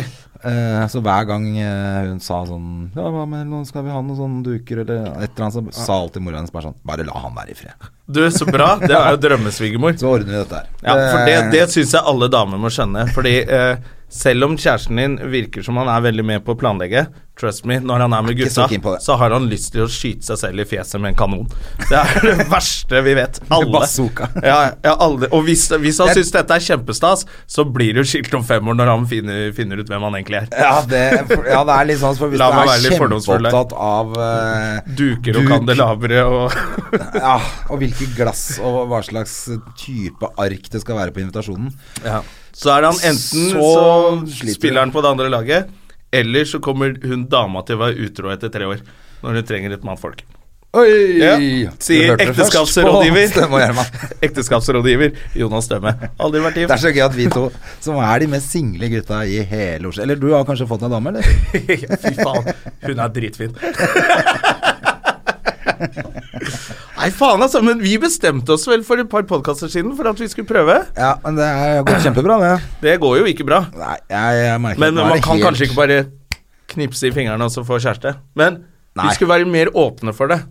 Speaker 1: Eh, så hver gang eh, hun sa sånn Ja, hva med nå skal vi ha noen sånne duker, eller et eller annet, så sa alltid mora hennes bare sånn Bare la han være i fred.
Speaker 2: Du, så bra. Det er jo drømmesvigermor.
Speaker 1: Så ordner vi dette her. Eh,
Speaker 2: Ja, for det, det syns jeg alle damer må skjønne. Fordi eh, selv om kjæresten din virker som han er veldig med på å planlegge, trust me, når han er med
Speaker 1: Ikke så
Speaker 2: gutta,
Speaker 1: keen på det.
Speaker 2: så har han lyst til å skyte seg selv i fjeset med en kanon. Det er det verste vi vet. Alle.
Speaker 1: bazooka.
Speaker 2: Ja, ja, alle. Og hvis, hvis han
Speaker 1: Jeg-
Speaker 2: syns dette er kjempestas, så blir du skilt om fem år når han finner, finner ut hvem han egentlig er.
Speaker 1: ja, det, for- ja, det er litt sånn for hvis
Speaker 2: La meg
Speaker 1: du
Speaker 2: være
Speaker 1: er
Speaker 2: litt fordomsfull her.
Speaker 1: kjempeopptatt av eh,
Speaker 2: Duker
Speaker 1: duk-
Speaker 2: og kandelabre og
Speaker 1: Ja, og hvilke glass og hva slags type ark det skal være på invitasjonen.
Speaker 2: Ja. Så er det han enten så,
Speaker 1: Så sliter
Speaker 2: spiller han på det andre laget, eller så kommer hun dama til å være utro etter tre år. Når hun trenger et mannfolk.
Speaker 1: Oi!
Speaker 2: Ja,
Speaker 1: Du
Speaker 2: sier
Speaker 1: hørte det først på
Speaker 2: ekteskapsrådgiver.
Speaker 1: Stemme og Gjerman.
Speaker 2: Ekteskapsrådgiver Jonas Stømme. Aldri vært
Speaker 1: Det er
Speaker 2: gift.
Speaker 1: så gøy at vi to, som er de mest single gutta i hele Oslo Eller du har kanskje fått deg dame, eller?
Speaker 2: Fy faen, hun er dritfin. Nei, faen altså, men vi bestemte oss vel for et par podkaster siden for at vi skulle prøve.
Speaker 1: Ja, men det er har gått kjempebra, det.
Speaker 2: Det går jo ikke bra.
Speaker 1: Nei, jeg, jeg merker
Speaker 2: Men
Speaker 1: at nå er
Speaker 2: man
Speaker 1: det
Speaker 2: kan
Speaker 1: helt-
Speaker 2: kanskje ikke bare knipse i fingrene og så få kjæreste. Men
Speaker 1: Nei.
Speaker 2: vi skulle være mer åpne for det.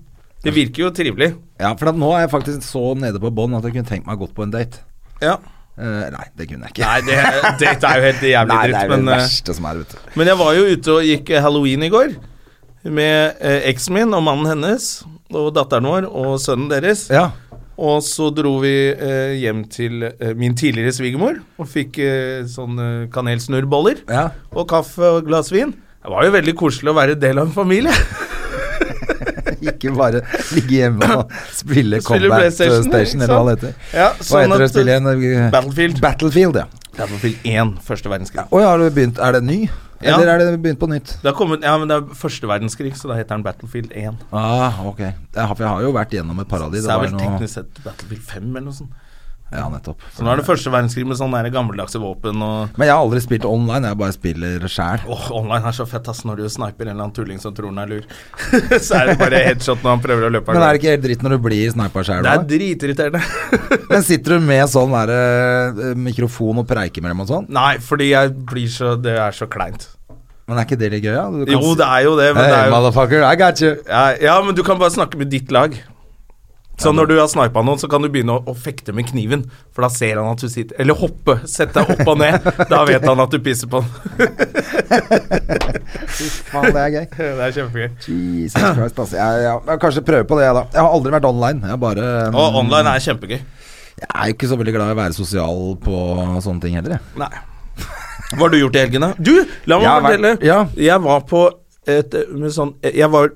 Speaker 2: Det virker jo trivelig.
Speaker 1: Ja, for at nå er jeg faktisk så nede på bånn at jeg kunne tenkt meg godt på en date.
Speaker 2: Ja.
Speaker 1: Eh, nei, det kunne jeg ikke.
Speaker 2: Nei, det, dette er jo helt jævlig
Speaker 1: Nei, det er
Speaker 2: dritt,
Speaker 1: jo
Speaker 2: men,
Speaker 1: det
Speaker 2: eh,
Speaker 1: verste som er, vet du.
Speaker 2: men jeg var jo ute og gikk eh, halloween i går med eh, eksen min og mannen hennes og datteren vår og sønnen deres.
Speaker 1: Ja.
Speaker 2: Og så dro vi eh, hjem til eh, min tidligere svigermor og fikk eh, sånne kanelsnurrboller
Speaker 1: Ja.
Speaker 2: og kaffe og glass vin. Det var jo veldig koselig å være del av en familie.
Speaker 1: Ikke bare ligge hjemme og spille
Speaker 2: Spille
Speaker 1: Combat
Speaker 2: PlayStation,
Speaker 1: Station,
Speaker 2: ikke
Speaker 1: eller hva det
Speaker 2: sant?
Speaker 1: heter.
Speaker 2: Ja,
Speaker 1: Hva
Speaker 2: sånn
Speaker 1: heter det
Speaker 2: at-
Speaker 1: spillet igjen?
Speaker 2: Battlefield.
Speaker 1: Battlefield, ja.
Speaker 2: Battlefield 1, første verdenskrig.
Speaker 1: Oi, har du begynt, er det ny?
Speaker 2: Ja.
Speaker 1: Eller er det begynt på nytt?
Speaker 2: Det har kommet, ja, men det er første verdenskrig, så da heter den Battlefield 1.
Speaker 1: Ah, ok. Jeg har, for jeg har jo vært gjennom et
Speaker 2: Så
Speaker 1: paradis.
Speaker 2: det er
Speaker 1: var
Speaker 2: vel
Speaker 1: noe-
Speaker 2: teknisk sett Battlefield 5 eller noe sånt.
Speaker 1: Ja, nettopp.
Speaker 2: Så nå er det første verdenskrig med sånne der gammeldagse våpen og
Speaker 1: Men jeg har aldri spilt online, jeg bare spiller sjæl.
Speaker 2: Åh, online er så fett, ass. Når du sniper en eller annen tulling som tror han er lur, så er det bare headshot når han prøver å løpe av
Speaker 1: Men er det
Speaker 2: gårde.
Speaker 1: ikke helt dritt når du blir snipa sjæl?
Speaker 2: Det er
Speaker 1: da?
Speaker 2: dritirriterende.
Speaker 1: Men sitter du med sånn der, eh, mikrofon og preiker med dem og sånn?
Speaker 2: Nei, fordi jeg blir så Det er så kleint.
Speaker 1: Men er ikke det litt gøy, da? Du kan
Speaker 2: Jo,
Speaker 1: si-
Speaker 2: det er jo det, men det
Speaker 1: Hey,
Speaker 2: er jo
Speaker 1: motherfucker, I got you.
Speaker 2: Ja, ja, men du kan bare snakke med ditt lag. Så når du har snipa noen, så kan du begynne å, å fekte med kniven. For da ser han at du sitter Eller hoppe. Sett deg opp og ned. Da vet han at du pisser på han.
Speaker 1: Faen, det er gøy.
Speaker 2: Det er kjempegøy.
Speaker 1: Jesus Christ, altså. Jeg, jeg, jeg, kanskje prøve på det, jeg, da. Jeg har aldri vært online. Jeg, bare,
Speaker 2: Og online er kjempegøy.
Speaker 1: jeg er jo ikke så veldig glad i å være sosial på sånne ting heller, jeg.
Speaker 2: Nei. Hva har du gjort i helgen, da? Du, la meg
Speaker 1: Jeg har vært-
Speaker 2: fortelle.
Speaker 1: ja.
Speaker 2: Jeg var på et eh, med sånn eh, Jeg var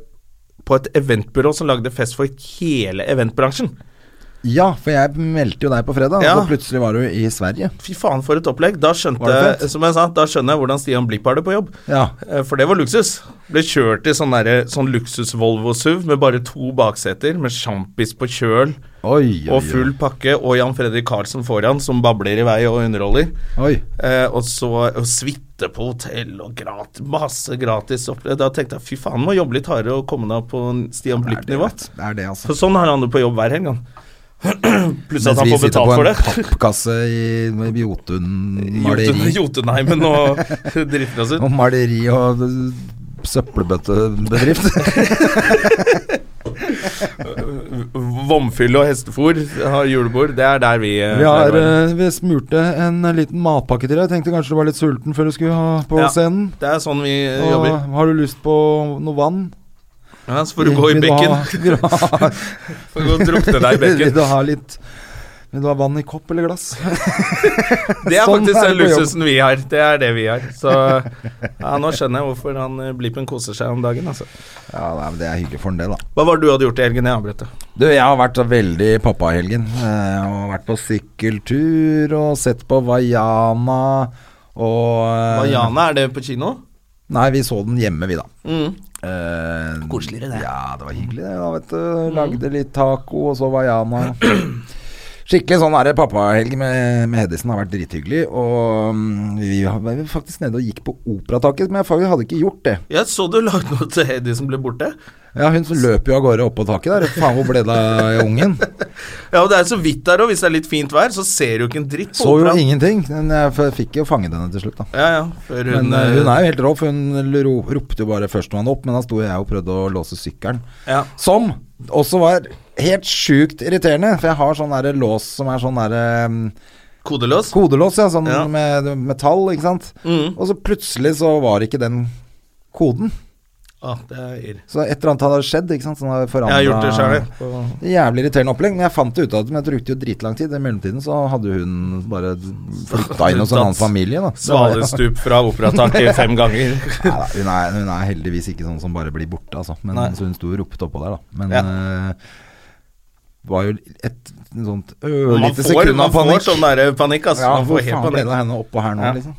Speaker 2: på et eventbyrå som lagde fest for hele eventbransjen.
Speaker 1: Ja, for jeg meldte jo deg på fredag,
Speaker 2: Ja.
Speaker 1: og så plutselig var du i Sverige.
Speaker 2: Fy faen, for et opplegg. Da
Speaker 1: Var det
Speaker 2: skjønte
Speaker 1: fett?
Speaker 2: som jeg sa, da skjønner jeg hvordan Stian Blipp har det på jobb.
Speaker 1: Ja.
Speaker 2: Eh, For det var luksus. Ble kjørt i sånn, derre- sånn luksus-Volvo SUV med bare to bakseter, med sjampis på kjøl
Speaker 1: Oi, oi,
Speaker 2: og full pakke, og Jan Fredrik Karlsen foran, som babler i vei og underholder.
Speaker 1: oi.
Speaker 2: Eh, og så og suite på hotell og gratis, masse gratis opplegg. Da tenkte jeg fy faen, må jobbe litt hardere og komme deg opp på Stian Blipp-nivå.
Speaker 1: Det er det, altså.
Speaker 2: For sånn har han det på jobb hver helg. han. Pluss at
Speaker 1: Mens
Speaker 2: han
Speaker 1: vi
Speaker 2: får
Speaker 1: sitter
Speaker 2: betalt
Speaker 1: på
Speaker 2: for
Speaker 1: en
Speaker 2: det.
Speaker 1: pappkasse i med
Speaker 2: Jotun,
Speaker 1: Jotun-maleri.
Speaker 2: Jotunheimen og driter oss ut.
Speaker 1: Og maleri og øh, søppelbøttebedrift.
Speaker 2: Vomfyll og hestefôr har julebord. Det er der vi eh,
Speaker 1: Vi, har,
Speaker 2: pleier å være.
Speaker 1: eh, vi smurte en eh, liten matpakke til deg. Tenkte kanskje du var litt sulten før du skulle ha på
Speaker 2: Ja.
Speaker 1: scenen.
Speaker 2: Det er sånn vi eh,
Speaker 1: Og
Speaker 2: jobber.
Speaker 1: har du lyst på noe vann?
Speaker 2: Ja, så får du gå i
Speaker 1: Vil du
Speaker 2: bekken.
Speaker 1: ha- Vil du ha,
Speaker 2: Får gå og drukne deg i
Speaker 1: vil
Speaker 2: bekken.
Speaker 1: du ha litt Vil du ha vann i kopp eller glass?
Speaker 2: Det er
Speaker 1: Sånn er det
Speaker 2: faktisk den
Speaker 1: på jobb.
Speaker 2: luksusen vi har. Det er det vi har. Så ja, nå skjønner jeg hvorfor han eh, Blippen koser seg om dagen, altså.
Speaker 1: Ja, nei, men Det er hyggelig for en del, da.
Speaker 2: Hva var det du hadde gjort i helgen? Jeg avbrøt deg.
Speaker 1: Du, jeg har vært veldig pappa i helgen. eh, Og vært på sykkeltur og sett på Vaiana og eh,
Speaker 2: Vaiana, er det på kino?
Speaker 1: Nei, vi så den hjemme, vi, da.
Speaker 2: Mm.
Speaker 1: Eh,
Speaker 2: Koseligere, det.
Speaker 1: Ja, det var hyggelig det. da, vet du. Lagde litt taco, og så var Jana Skikkelig sånn er det pappahelg med, med Hedisen. Har vært drithyggelig. Og mm, vi var faktisk nede og gikk på Operataket, men jeg fa- hadde ikke gjort det.
Speaker 2: Jeg så du lagde noe til Hedy som ble borte.
Speaker 1: Ja, hun som løper jo av gårde opp på taket der. Faen, hvor ble det av ungen?
Speaker 2: Ja, og det er så vidt der òg. Hvis det er litt fint vær, så ser du ikke en dritt på
Speaker 1: Så jo
Speaker 2: operaen.
Speaker 1: ingenting. Men jeg f- fikk jo fanget henne til slutt, da.
Speaker 2: Ja, ja. Før hun,
Speaker 1: Men eh, hun
Speaker 2: eh,
Speaker 1: er jo helt rå, for hun ro- ropte jo bare førstemann opp, men da sto jeg og prøvde å låse sykkelen.
Speaker 2: ja.
Speaker 1: Som også var helt sjukt irriterende, for jeg har sånn derre lås som er sånn derre um,
Speaker 2: Kodeløs.
Speaker 1: kodelås, ja, sånn
Speaker 2: Ja.
Speaker 1: med metall, ikke sant.
Speaker 2: Mm.
Speaker 1: Og så plutselig så var ikke den koden.
Speaker 2: Ah, det er irr.
Speaker 1: Så et eller annet hadde skjedd, ikke sant. Sånn hadde
Speaker 2: Jeg
Speaker 1: forandra
Speaker 2: har gjort det sjøl, jeg.
Speaker 1: Jævlig irriterende opplegg, men jeg fant det ut av det, men jeg brukte jo dritlang tid. I mellomtiden så hadde hun bare flytta inn hos en sånn annen familie, da. Så det var-
Speaker 2: Svalestup fra operataket fem ganger.
Speaker 1: Neida, hun, er, hun er heldigvis ikke sånn som bare blir borte, altså. Men,
Speaker 2: Nei.
Speaker 1: så hun sto og ropte oppå der, da. Men
Speaker 2: Ja.
Speaker 1: eh, det var jo et sånt
Speaker 2: Man
Speaker 1: ørlite
Speaker 2: får,
Speaker 1: sekund
Speaker 2: man
Speaker 1: av
Speaker 2: får
Speaker 1: panikk.
Speaker 2: sånn der panikk, altså.
Speaker 1: ja,
Speaker 2: man
Speaker 1: hvor
Speaker 2: får helt
Speaker 1: faen ble det
Speaker 2: panikk.
Speaker 1: av henne oppå her nå,
Speaker 2: Ja.
Speaker 1: liksom?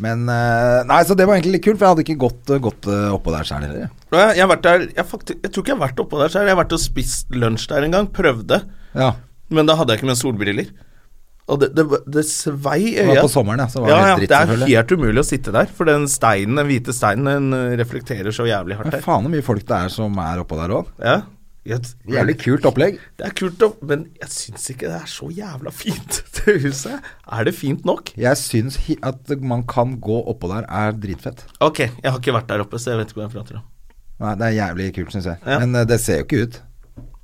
Speaker 1: Men eh, Nei, så det var egentlig litt kult, for jeg hadde ikke gått, gått eh, oppå der sjøl heller. jeg.
Speaker 2: Jeg, jeg, har vært der, jeg, fakti- jeg tror ikke jeg har vært oppå der selv. Jeg har vært og spist lunsj der en gang. Prøvde.
Speaker 1: Ja.
Speaker 2: Men da hadde jeg ikke med solbriller. Og det, det, det svei i
Speaker 1: Det
Speaker 2: øya.
Speaker 1: var på sommeren, ja. Så var det
Speaker 2: Ja, ja,
Speaker 1: helt dritt,
Speaker 2: det er
Speaker 1: selvfølgelig.
Speaker 2: helt umulig å sitte der, for den steinen, den hvite steinen den eh, reflekterer så jævlig hardt
Speaker 1: Men
Speaker 2: der.
Speaker 1: faen så mye folk det er som er oppå der òg.
Speaker 2: Ja. Jeg-
Speaker 1: Jævlig kult opplegg.
Speaker 2: Det er kult, da, men jeg syns ikke det er så jævla fint, det huset. Er det fint nok?
Speaker 1: Jeg syns hi- at man kan gå oppå der er dritfett.
Speaker 2: Ok, jeg har ikke vært der oppe, så jeg vet ikke hva jeg prater om.
Speaker 1: Nei, det er jævlig kult, syns jeg.
Speaker 2: Ja.
Speaker 1: Men eh, det ser jo ikke ut.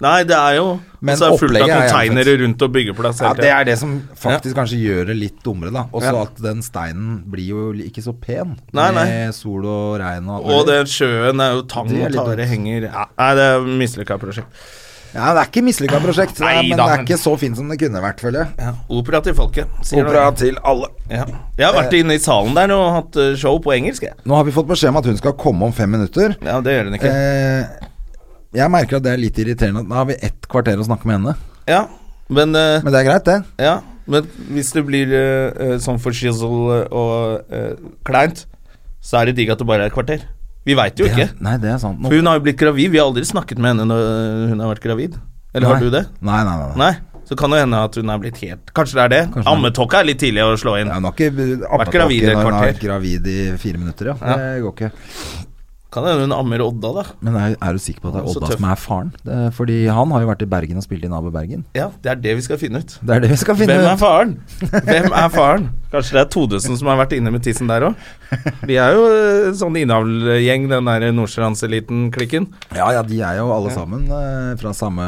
Speaker 2: Nei, det er jo
Speaker 1: Men
Speaker 2: Men så er det fullt av
Speaker 1: opplegget er jævlig
Speaker 2: konteinere
Speaker 1: fett.
Speaker 2: rundt og byggeplass.
Speaker 1: Ja,
Speaker 2: hele
Speaker 1: det
Speaker 2: tiden.
Speaker 1: er det som faktisk kanskje gjør det litt dummere, da. Også
Speaker 2: Ja.
Speaker 1: at den steinen blir jo li- ikke så pen
Speaker 2: Nei, nei.
Speaker 1: med sol og regn og alt
Speaker 2: Og
Speaker 1: mulig.
Speaker 2: den sjøen er jo tang
Speaker 1: Det er
Speaker 2: og
Speaker 1: litt
Speaker 2: tare
Speaker 1: dumt.
Speaker 2: henger ja, Nei, det er mislykka prosjekt.
Speaker 1: Ja, det er ikke mislykka prosjekt,
Speaker 2: Nei
Speaker 1: men
Speaker 2: da,
Speaker 1: det er
Speaker 2: men-
Speaker 1: ikke så fint som det kunne vært, føler jeg.
Speaker 2: Opera til folket, sier
Speaker 1: Opera
Speaker 2: du.
Speaker 1: til alle. Eh.
Speaker 2: Ja. Jeg har vært inne i salen der og hatt eh, show på engelsk, jeg.
Speaker 1: Nå har vi fått beskjed om at hun skal komme om fem minutter.
Speaker 2: Ja, det gjør hun ikke.
Speaker 1: Eh, jeg merker at det er litt irriterende. at Da har vi ett kvarter å snakke med henne.
Speaker 2: Ja, men, eh,
Speaker 1: Men det er greit, det.
Speaker 2: ja, men hvis det blir eh, eh, sånn for shizzle eh, og eh, kleint, så er det digg at det bare er et kvarter. Vi veit jo ikke.
Speaker 1: Ja, nei, det er sant. Nå-
Speaker 2: For hun har jo blitt gravid. Vi har aldri snakket med henne når hun har vært gravid. Eller
Speaker 1: Nei.
Speaker 2: har du det?
Speaker 1: Nei, nei, nei. nei.
Speaker 2: Nei. Så kan det hende at hun er blitt helt Kanskje det er det?
Speaker 1: Kanskje det er-
Speaker 2: Ammetåka er litt tidlig å slå inn.
Speaker 1: Ja, hun har ikke vært
Speaker 2: gravid i et
Speaker 1: Hun har
Speaker 2: kvarter.
Speaker 1: vært gravid i fire minutter, ja.
Speaker 2: Ja.
Speaker 1: Det går ikke.
Speaker 2: Kan hende hun ammer Odda, da.
Speaker 1: Men er, er du sikker på at det er
Speaker 2: Så
Speaker 1: Odda
Speaker 2: tøff.
Speaker 1: som er faren? Det, er fordi han har jo vært i Bergen og spilt inn Abo Bergen.
Speaker 2: Ja, det er det vi skal finne ut.
Speaker 1: Det er det vi skal finne
Speaker 2: Hvem er
Speaker 1: ut.
Speaker 2: faren? Hvem er faren? Kanskje det er Todesen som har vært inne med tissen der òg? De er jo eh, sånn innavlgjeng, den der Nordstrands-eliten-klikken.
Speaker 1: Ja, ja, de er jo alle sammen eh, fra samme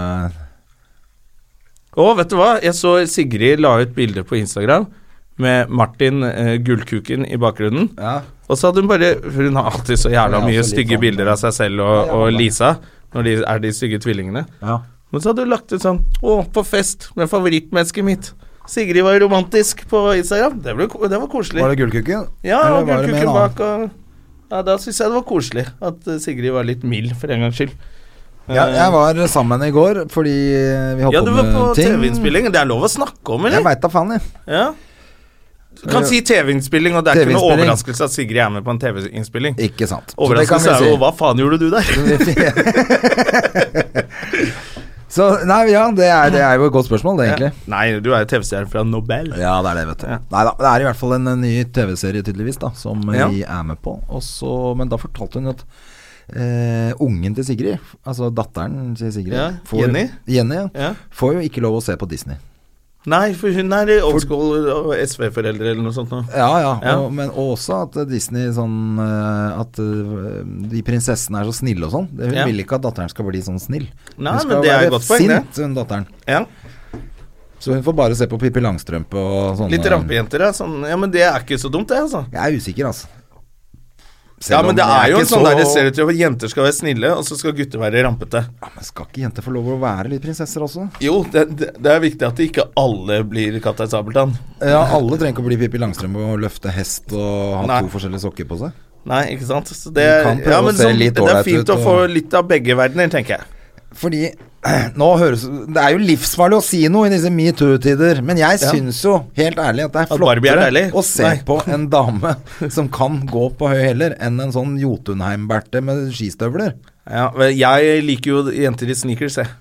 Speaker 2: Å, vet du hva? Jeg så Sigrid la ut bilde på Instagram med Martin eh, Gullkuken i bakgrunnen.
Speaker 1: Ja.
Speaker 2: Og så hadde hun bare For hun har alltid så jævla
Speaker 1: Ja, så
Speaker 2: mye
Speaker 1: litt
Speaker 2: stygge
Speaker 1: sånn.
Speaker 2: bilder av seg selv og, og Lisa når de er de stygge tvillingene.
Speaker 1: ja.
Speaker 2: Men så hadde hun lagt ut sånn Å, på fest med favorittmennesket mitt. Sigrid var romantisk på Instagram. Det, ble, ko- det var koselig.
Speaker 1: Var det Gullkukken?
Speaker 2: ja,
Speaker 1: Eller
Speaker 2: og
Speaker 1: var det med en
Speaker 2: gullkuken
Speaker 1: annen?
Speaker 2: bak og Ja, da syns jeg det var koselig at eh, Sigrid var litt mild, for en gangs skyld.
Speaker 1: Ja, jeg var sammen i går fordi vi holdt
Speaker 2: Eh. Ja, du
Speaker 1: på
Speaker 2: var
Speaker 1: med
Speaker 2: på
Speaker 1: ting.
Speaker 2: TV-innspilling. Det er lov å snakke om,
Speaker 1: Jeg
Speaker 2: eller?
Speaker 1: veit da faen, jeg.
Speaker 2: Ja. Du kan si TV-innspilling, og det er ikke noe
Speaker 1: TV-innspilling.
Speaker 2: overraskelse at Sigrid er med på en TV-innspilling.
Speaker 1: Ikke sant. Så det kan vi
Speaker 2: Overraskelse er
Speaker 1: si.
Speaker 2: jo 'hva faen gjorde du der?'
Speaker 1: Så nei, ja, det er, det er jo et godt spørsmål, det, egentlig.
Speaker 2: Nei, du er jo TV-stjerne fra Nobel.
Speaker 1: Ja, det er det, vet du. Neida, det er i hvert fall en, en ny TV-serie, tydeligvis, da, som eh,
Speaker 2: Ja.
Speaker 1: vi er med på. Og så- men da fortalte hun at eh, ungen til Sigrid, altså datteren til Sigrid
Speaker 2: Ja, Jenny.
Speaker 1: Jenny ja,
Speaker 2: Ja.
Speaker 1: får jo ikke lov å se på Disney.
Speaker 2: Nei, for hun er i old school og SV-foreldre eller noe sånt. nå.
Speaker 1: Ja, ja,
Speaker 2: Ja.
Speaker 1: Og, men også at Disney sånn eh, At eh, de prinsessene er så snille og sånn. Det- Hun
Speaker 2: Ja.
Speaker 1: vil ikke at datteren skal bli sånn snill.
Speaker 2: Nei,
Speaker 1: hun
Speaker 2: men
Speaker 1: skal
Speaker 2: det er et
Speaker 1: være
Speaker 2: godt poeng, det.
Speaker 1: sint, hun datteren.
Speaker 2: Ja.
Speaker 1: Så hun får bare se på Pippi Langstrømpe og sånne
Speaker 2: Litt rampejenter, ja. Sånn. Ja, men det er ikke så dumt, det, altså.
Speaker 1: Jeg er usikker, altså.
Speaker 2: Ja, men det er jo en sånn der det ser
Speaker 1: seriøst
Speaker 2: ut til at jenter skal være snille, og så skal gutter være rampete.
Speaker 1: ja, men Skal ikke jenter få lov å være litt prinsesser også?
Speaker 2: Jo, det, det, det er viktig at ikke alle blir Kaptein Sabeltann.
Speaker 1: Ja, alle trenger ikke å bli Pippi Langstrømpe og løfte hest og ha
Speaker 2: Nei.
Speaker 1: to forskjellige sokker på seg.
Speaker 2: Nei, ikke sant? Så det,
Speaker 1: Du kan prøve
Speaker 2: ja, men
Speaker 1: å se
Speaker 2: sånn-
Speaker 1: litt
Speaker 2: det er
Speaker 1: ålreit
Speaker 2: fint
Speaker 1: ut
Speaker 2: å få
Speaker 1: og-
Speaker 2: litt av begge verdener, tenker jeg.
Speaker 1: Fordi nå høres Det er jo livsfarlig å si noe i disse metoo-tider, men jeg
Speaker 2: Ja.
Speaker 1: syns jo, helt ærlig, at det er
Speaker 2: At Barbie er
Speaker 1: flottere
Speaker 2: deilig?
Speaker 1: å se
Speaker 2: Nei.
Speaker 1: på en dame som kan gå på høy hæler, enn en sånn Jotunheim-berte med skistøvler.
Speaker 2: Ja, men jeg liker jo jenter i sneakers, jeg.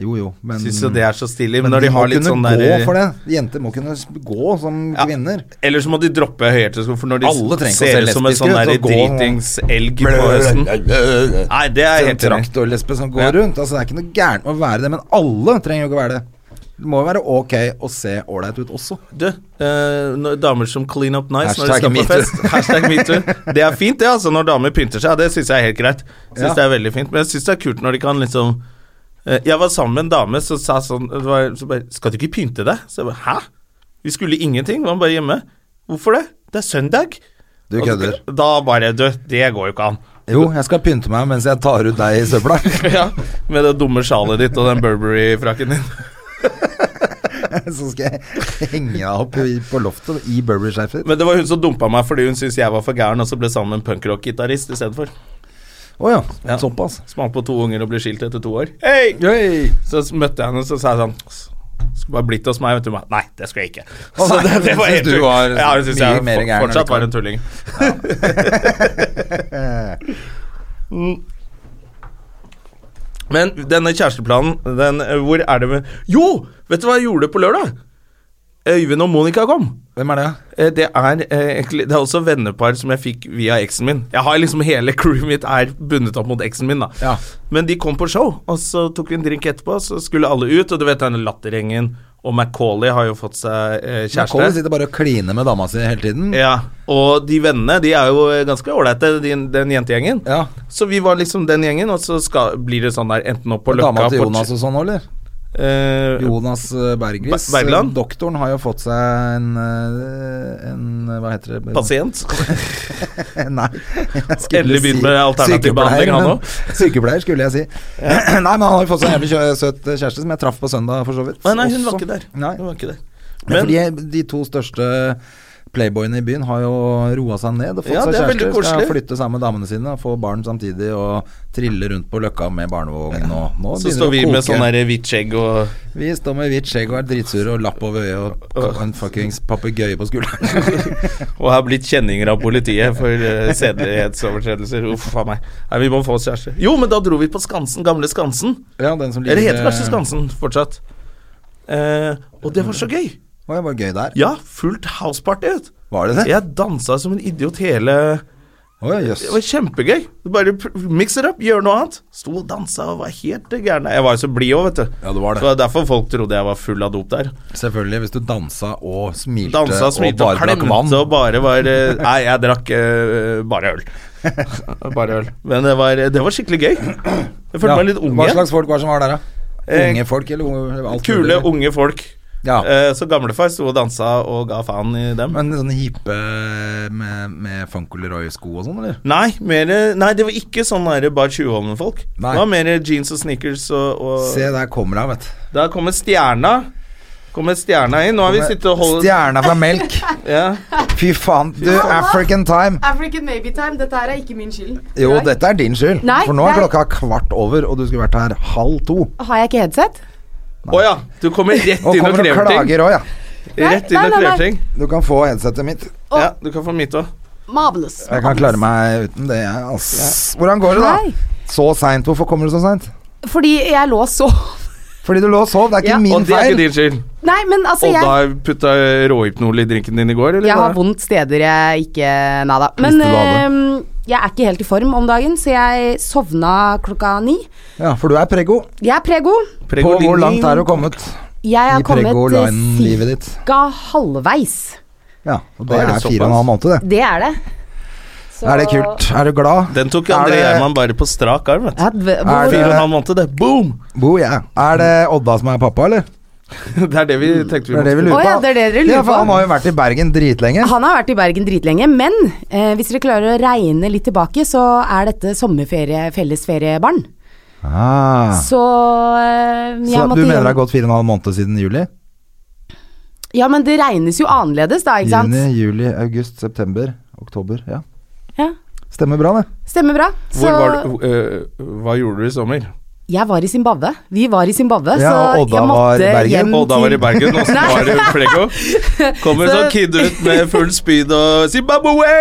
Speaker 1: Jo, jo, men
Speaker 2: Syns jo det er så stilig. Mm.
Speaker 1: Men
Speaker 2: Men når de
Speaker 1: må
Speaker 2: har litt
Speaker 1: kunne
Speaker 2: sånn
Speaker 1: gå
Speaker 2: der
Speaker 1: for det. Jenter må kunne s- gå som
Speaker 2: Ja.
Speaker 1: kvinner.
Speaker 2: Eller så må de droppe høyhælte sko, for når de
Speaker 1: Alle trenger ikke å se
Speaker 2: ser ut som en
Speaker 1: lesbiske
Speaker 2: sånn
Speaker 1: ut,
Speaker 2: der
Speaker 1: så gå-
Speaker 2: dritings-elg på høsten. Nei, det er
Speaker 1: En
Speaker 2: jeg helt enig. i.
Speaker 1: traktorlesbe som går
Speaker 2: Ja.
Speaker 1: rundt. Altså, det er ikke noe gærent med å være det, men alle trenger jo ikke å være det. Det må jo være ok å se ålreit ut også.
Speaker 2: Du, eh, når damer som clean up nice
Speaker 1: Hashtag
Speaker 2: når de skal på
Speaker 1: metoo.
Speaker 2: fest. Hashtag metoo. Det er fint, det, altså. Når damer pynter seg, det syns jeg er helt greit. Synes
Speaker 1: Ja.
Speaker 2: det er veldig fint Men jeg syns det er kult når de kan liksom eh, Jeg var sammen med en dame som sa sånn det var- så bare, 'Skal du ikke pynte deg?' Så jeg bare 'Hæ?' Vi skulle ingenting, var bare hjemme. Hvorfor det? Det er søndag.
Speaker 1: Du
Speaker 2: Og så-
Speaker 1: kødder.
Speaker 2: Da bare Du, det går jo ikke an.
Speaker 1: Jo, jeg skal pynte meg mens jeg tar ut deg i søpla.
Speaker 2: Ja, med det dumme sjalet ditt og den Burberry-frakken din.
Speaker 1: Så skal jeg henge deg opp i, på loftet i Burberry-skjerfet. ditt.
Speaker 2: Men det var hun som dumpa meg fordi hun syntes jeg var for gæren, og så ble sammen med en punkrock-gitarist istedenfor.
Speaker 1: Å ja.
Speaker 2: Ja.
Speaker 1: Såpass.
Speaker 2: Smalt på to unger og ble skilt etter to år. Hei!
Speaker 1: Hey.
Speaker 2: Så s- møtte jeg henne, så sa jeg sånn "S- Skulle bare blitt hos meg, vet du. Hun ba, Nei, det skulle jeg ikke. Så
Speaker 1: nei, hun synes
Speaker 2: helt
Speaker 1: du
Speaker 2: tull.
Speaker 1: var
Speaker 2: ja, hun
Speaker 1: mye
Speaker 2: synes jeg
Speaker 1: mer
Speaker 2: for-
Speaker 1: gæren enn
Speaker 2: fortsatt
Speaker 1: du
Speaker 2: var
Speaker 1: kan.
Speaker 2: en tulling. Mm. Men denne kjæresteplanen, den eh, Hvor er det med Jo! Vet du hva jeg gjorde på lørdag? Øyvind og Monica kom.
Speaker 1: Hvem er det?
Speaker 2: Eh, Det er, eh, egentlig, det er også vennepar som jeg fikk via eksen min. Jeg har liksom Hele crewet mitt er bundet opp mot eksen min. da
Speaker 1: Ja.
Speaker 2: Men de kom på show, og så tok vi en drink etterpå. Så skulle alle ut, og du vet denne lattergjengen. Og Macauley har jo fått seg eh,
Speaker 1: Kjæreste?
Speaker 2: kjæreste.
Speaker 1: sitter bare og kliner med dama si hele tiden.
Speaker 2: Ja, Og de vennene de er jo eh, ganske ålreite, de- den jentegjengen.
Speaker 1: Ja.
Speaker 2: Så vi var liksom den gjengen, og så skal, blir det sånn der enten opp på
Speaker 1: Dama
Speaker 2: Løkka
Speaker 1: til
Speaker 2: på-
Speaker 1: Jonas og sånn, eller?
Speaker 2: eh,
Speaker 1: Jonas eh, Berglis.
Speaker 2: Ber- Bergland?
Speaker 1: eh, Doktoren har jo fått seg en, eh, en Hva heter det?
Speaker 2: Pasient.
Speaker 1: Nei. jeg skulle
Speaker 2: Endelig begynt med
Speaker 1: sykepleier,
Speaker 2: alternativ behandling, han
Speaker 1: men-
Speaker 2: også.
Speaker 1: Sykepleier, skulle jeg si. Nei, men han har jo fått seg en jævlig kjø- søt kjæreste som jeg traff på søndag, for så vidt.
Speaker 2: Nei, nei, hun
Speaker 1: også.
Speaker 2: var ikke der.
Speaker 1: Nei.
Speaker 2: Hun var ikke der.
Speaker 1: Men, fordi de to største playboyene i byen har jo roa seg ned og fått
Speaker 2: Ja,
Speaker 1: seg
Speaker 2: det
Speaker 1: kjærester.
Speaker 2: er veldig
Speaker 1: Skal
Speaker 2: koselig.
Speaker 1: flytte sammen med damene sine og få barn samtidig og trille rundt på Løkka med barnevogn og nå
Speaker 2: så
Speaker 1: begynner
Speaker 2: står vi
Speaker 1: det å
Speaker 2: med
Speaker 1: koke.
Speaker 2: sånn der hvitt skjegg og
Speaker 1: Vi står med hvitt skjegg og er dritsure og lapp over øyet og, og en fuckings papegøye på skulderen.
Speaker 2: Og har blitt kjenninger av politiet for eh, sedelighetsovertredelser. Uff a meg. Nei, vi må få oss kjæreste. Jo, men da dro vi på Skansen, gamle Skansen.
Speaker 1: ja, den som
Speaker 2: Eller heter kanskje Skansen fortsatt. Eh, og det var så gøy.
Speaker 1: eh, Å, jeg var gøy der.
Speaker 2: Ja, fullt houseparty. vet du.
Speaker 1: Var det det?
Speaker 2: Jeg dansa som en idiot hele
Speaker 1: Å, jøss.
Speaker 2: Det var kjempegøy. Du Bare pr- mix it up, gjør noe annet. Sto og dansa og var helt gæren. Jeg var jo så blid òg, vet du.
Speaker 1: Ja, du var det.
Speaker 2: Så var derfor folk trodde jeg var full av dop der.
Speaker 1: Selvfølgelig, hvis du dansa og smilte,
Speaker 2: Dansa, smilte og,
Speaker 1: og bare drakk vann.
Speaker 2: klemte og bare var eh, Nei, jeg drakk eh, bare øl. bare øl. Men det var, det var skikkelig gøy. Jeg følte
Speaker 1: Ja.
Speaker 2: meg litt ung
Speaker 1: Hva
Speaker 2: igjen.
Speaker 1: slags folk var det som var der, da?
Speaker 2: Eh,
Speaker 1: Unge folk, eller unge- alt
Speaker 2: Kule,
Speaker 1: mulig?
Speaker 2: unge folk.
Speaker 1: Ja.
Speaker 2: Eh, så gamlefar sto og dansa og ga faen i dem.
Speaker 1: Men sånne hippe med, med Funko Leroy-sko og sånn, eller?
Speaker 2: Nei, mere, nei, det var ikke sånn der bare 20-årene-folk. Det
Speaker 1: Nei.
Speaker 2: var mer jeans og sneakers og, og
Speaker 1: Se, der kommer hun, vet du.
Speaker 2: Der kommer stjerna. Kommer stjerna inn? Nå har vi sittet og holdt
Speaker 1: Stjerna fra melk.
Speaker 2: ja.
Speaker 1: Fy faen. Du, African time.
Speaker 3: African Maybe Time, dette her er ikke min skyld.
Speaker 1: Jo,
Speaker 3: Nei.
Speaker 1: dette er din skyld.
Speaker 3: Nei,
Speaker 1: For nå er
Speaker 3: nei.
Speaker 1: klokka kvart over, og du skulle vært her halv to.
Speaker 3: Har jeg ikke headset?
Speaker 2: Å ja. Du kommer rett
Speaker 1: Og
Speaker 2: inn og
Speaker 1: kommer og
Speaker 2: krever ting.
Speaker 1: klager òg, ja.
Speaker 2: Rett inn
Speaker 3: Nei,
Speaker 2: og
Speaker 3: nei, nei.
Speaker 2: krever ting.
Speaker 1: Du kan få headsetet mitt.
Speaker 3: Å.
Speaker 2: Ja, du kan få mitt òg.
Speaker 3: Marvelous.
Speaker 1: Jeg kan klare meg uten det, jeg. ass. Hvordan går det,
Speaker 3: Hei.
Speaker 1: da? Så seint. Hvorfor kommer du så seint?
Speaker 3: Fordi jeg lå så
Speaker 1: Fordi du lå og sov. Det er ikke
Speaker 3: Ja.
Speaker 2: Og
Speaker 1: min
Speaker 2: det er ikke
Speaker 1: feil.
Speaker 2: din skyld.
Speaker 3: Nei, men altså,
Speaker 2: Og
Speaker 3: jeg
Speaker 2: da putta råhypnol i drinken din i går, eller?
Speaker 3: Jeg har
Speaker 2: hva?
Speaker 3: vondt steder jeg ikke Nei da. Men
Speaker 1: Visste du hva
Speaker 3: eh, jeg er ikke helt i form om dagen, så jeg sovna klokka ni.
Speaker 1: Ja, for du er prego.
Speaker 3: Jeg er prego.
Speaker 1: På
Speaker 2: Pregolin-
Speaker 1: hvor langt er du kommet
Speaker 3: Jeg
Speaker 1: i
Speaker 3: er kommet eh,
Speaker 1: prego-line-livet ditt?
Speaker 3: cirka halvveis.
Speaker 1: Ja, og
Speaker 2: Da
Speaker 1: det
Speaker 2: er
Speaker 1: er fire og
Speaker 2: det
Speaker 1: en
Speaker 2: såpass.
Speaker 1: halv måned, det.
Speaker 3: Det er det. Så-
Speaker 1: Er det kult? Er du glad?
Speaker 2: Den tok
Speaker 1: Er
Speaker 2: André
Speaker 1: det-
Speaker 2: Gjerman bare på strak arm, vet du.
Speaker 3: Ja, v-
Speaker 1: Er
Speaker 3: hvor,
Speaker 2: Fire og en halv måned, det. Boom!
Speaker 1: Bo, ja. Er det Odda som er pappa, eller?
Speaker 2: Det er Mm, det vi tenkte vi
Speaker 1: Det er det vi
Speaker 2: måtte-
Speaker 1: lurer
Speaker 3: Å
Speaker 1: på.
Speaker 3: ja, det er det dere lurer
Speaker 1: Ja, for
Speaker 3: på. Ah.
Speaker 1: han har jo vært i Bergen dritlenge.
Speaker 3: han har vært i Bergen dritlenge, men eh, hvis dere klarer å regne litt tilbake, så er dette sommerferie, fellesferiebarn.
Speaker 1: Ah.
Speaker 3: Så eh, jeg
Speaker 1: Så
Speaker 3: måtte
Speaker 1: du mener det
Speaker 3: hjem-
Speaker 1: har gått fire og en halv måned siden juli?
Speaker 3: Ja, men det regnes jo annerledes, da, ikke sant?
Speaker 1: Juni, juli, august, september, oktober. Ja.
Speaker 3: Ja.
Speaker 1: Stemmer bra, det.
Speaker 3: Stemmer bra.
Speaker 2: Hvor var du, øh, hva gjorde du i sommer?
Speaker 3: Jeg var i Zimbabwe. Vi var i Zimbabwe,
Speaker 1: Ja,
Speaker 3: så
Speaker 1: og Odda
Speaker 3: jeg
Speaker 1: var i
Speaker 3: måtte
Speaker 1: Bergen.
Speaker 3: hjem
Speaker 2: Og da var det i
Speaker 3: til
Speaker 2: Bergen, og så var det Flego. Kommer
Speaker 3: Så-
Speaker 2: sånn kid ut med full speed og Zimbabwe!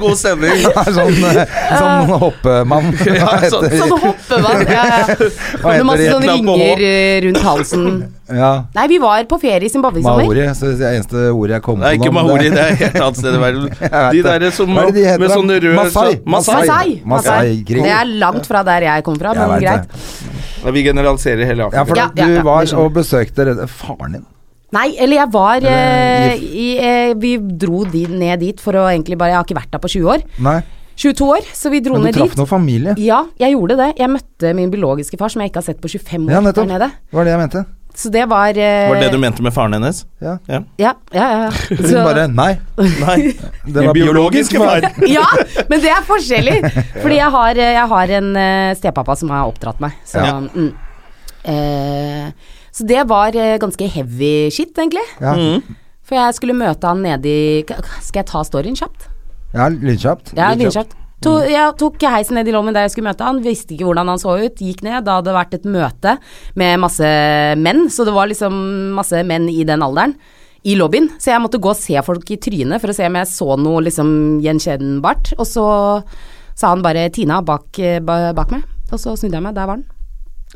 Speaker 2: God stemning.
Speaker 1: Det er sånn, eh, sånn hoppemann. Hva
Speaker 2: Ja, sånn-
Speaker 1: heter,
Speaker 3: Sånn hopper man. Ja, ja.
Speaker 1: hva
Speaker 3: Med
Speaker 1: heter
Speaker 3: masse
Speaker 1: det?
Speaker 3: sånne
Speaker 2: Knapp på H.
Speaker 3: ringer eh, rundt halsen.
Speaker 1: Ja,
Speaker 3: Nei, vi var på ferie i Zimbabwe i sommer.
Speaker 1: maori. Så det er eneste ordet jeg kom på
Speaker 2: Det er ikke
Speaker 1: nå, men
Speaker 2: maori,
Speaker 1: det-
Speaker 2: det er et helt annet sted i verden.
Speaker 1: vet
Speaker 2: De
Speaker 1: det.
Speaker 2: derre som
Speaker 1: Hva er det de heter
Speaker 2: med
Speaker 1: da?
Speaker 2: sånne røde
Speaker 1: Masai.
Speaker 2: så- Masai.
Speaker 3: Masai.
Speaker 1: Masai, Kring.
Speaker 3: Det er langt fra der jeg kom fra,
Speaker 1: Jeg
Speaker 3: men
Speaker 1: vet
Speaker 3: greit.
Speaker 2: Ja, vi generaliserer hele
Speaker 1: Ja, for
Speaker 2: Afrika.
Speaker 3: Ja,
Speaker 1: du
Speaker 3: ja, ja,
Speaker 1: var
Speaker 3: det skjønner
Speaker 1: og besøkte redde- faren din.
Speaker 3: Nei, eller jeg var
Speaker 1: Eller
Speaker 3: eh, i, eh, Vi dro di- ned dit for å egentlig bare Jeg har ikke vært der på 20 år.
Speaker 1: Nei,
Speaker 3: 22 år, så vi dro
Speaker 1: men du
Speaker 3: ned
Speaker 1: traff
Speaker 3: dit.
Speaker 1: noen familie.
Speaker 3: Ja, jeg gjorde det. Jeg møtte min biologiske far, som jeg ikke har sett på 25 år
Speaker 1: Ja,
Speaker 3: der
Speaker 1: nettopp.
Speaker 3: nede.
Speaker 1: Det var det jeg mente.
Speaker 3: Så det var eh,
Speaker 2: Var det det du mente med faren hennes?
Speaker 1: Ja.
Speaker 3: Ja, ja, ja. ja.
Speaker 1: Hun
Speaker 3: Så-
Speaker 1: bare Nei,
Speaker 2: Nei.
Speaker 1: det var biologisk far.
Speaker 3: ja, men det er forskjellig. Fordi jeg har, jeg har en eh, stepappa som har oppdratt meg. Så,
Speaker 1: Ja.
Speaker 3: mm. Eh, så det var eh, ganske heavy shit, egentlig. Mm.
Speaker 1: Ja,
Speaker 2: Mhm.
Speaker 3: For jeg skulle møte han nede i K- Skal jeg ta storyen kjapt?
Speaker 1: ja lynkjapt.
Speaker 3: Ja, lynkjapt. To, jeg tok heisen ned i lommen der jeg skulle møte han, visste ikke hvordan han så ut, gikk ned. Da hadde det vært et møte med masse menn, så det var liksom masse menn i den alderen. I lobbyen, så jeg måtte gå og se folk i trynet for å se om jeg så noe liksom gjenkjennbart. Og så sa han bare 'Tina' bak, eh, ba- bak meg, og så snudde jeg meg, der var han.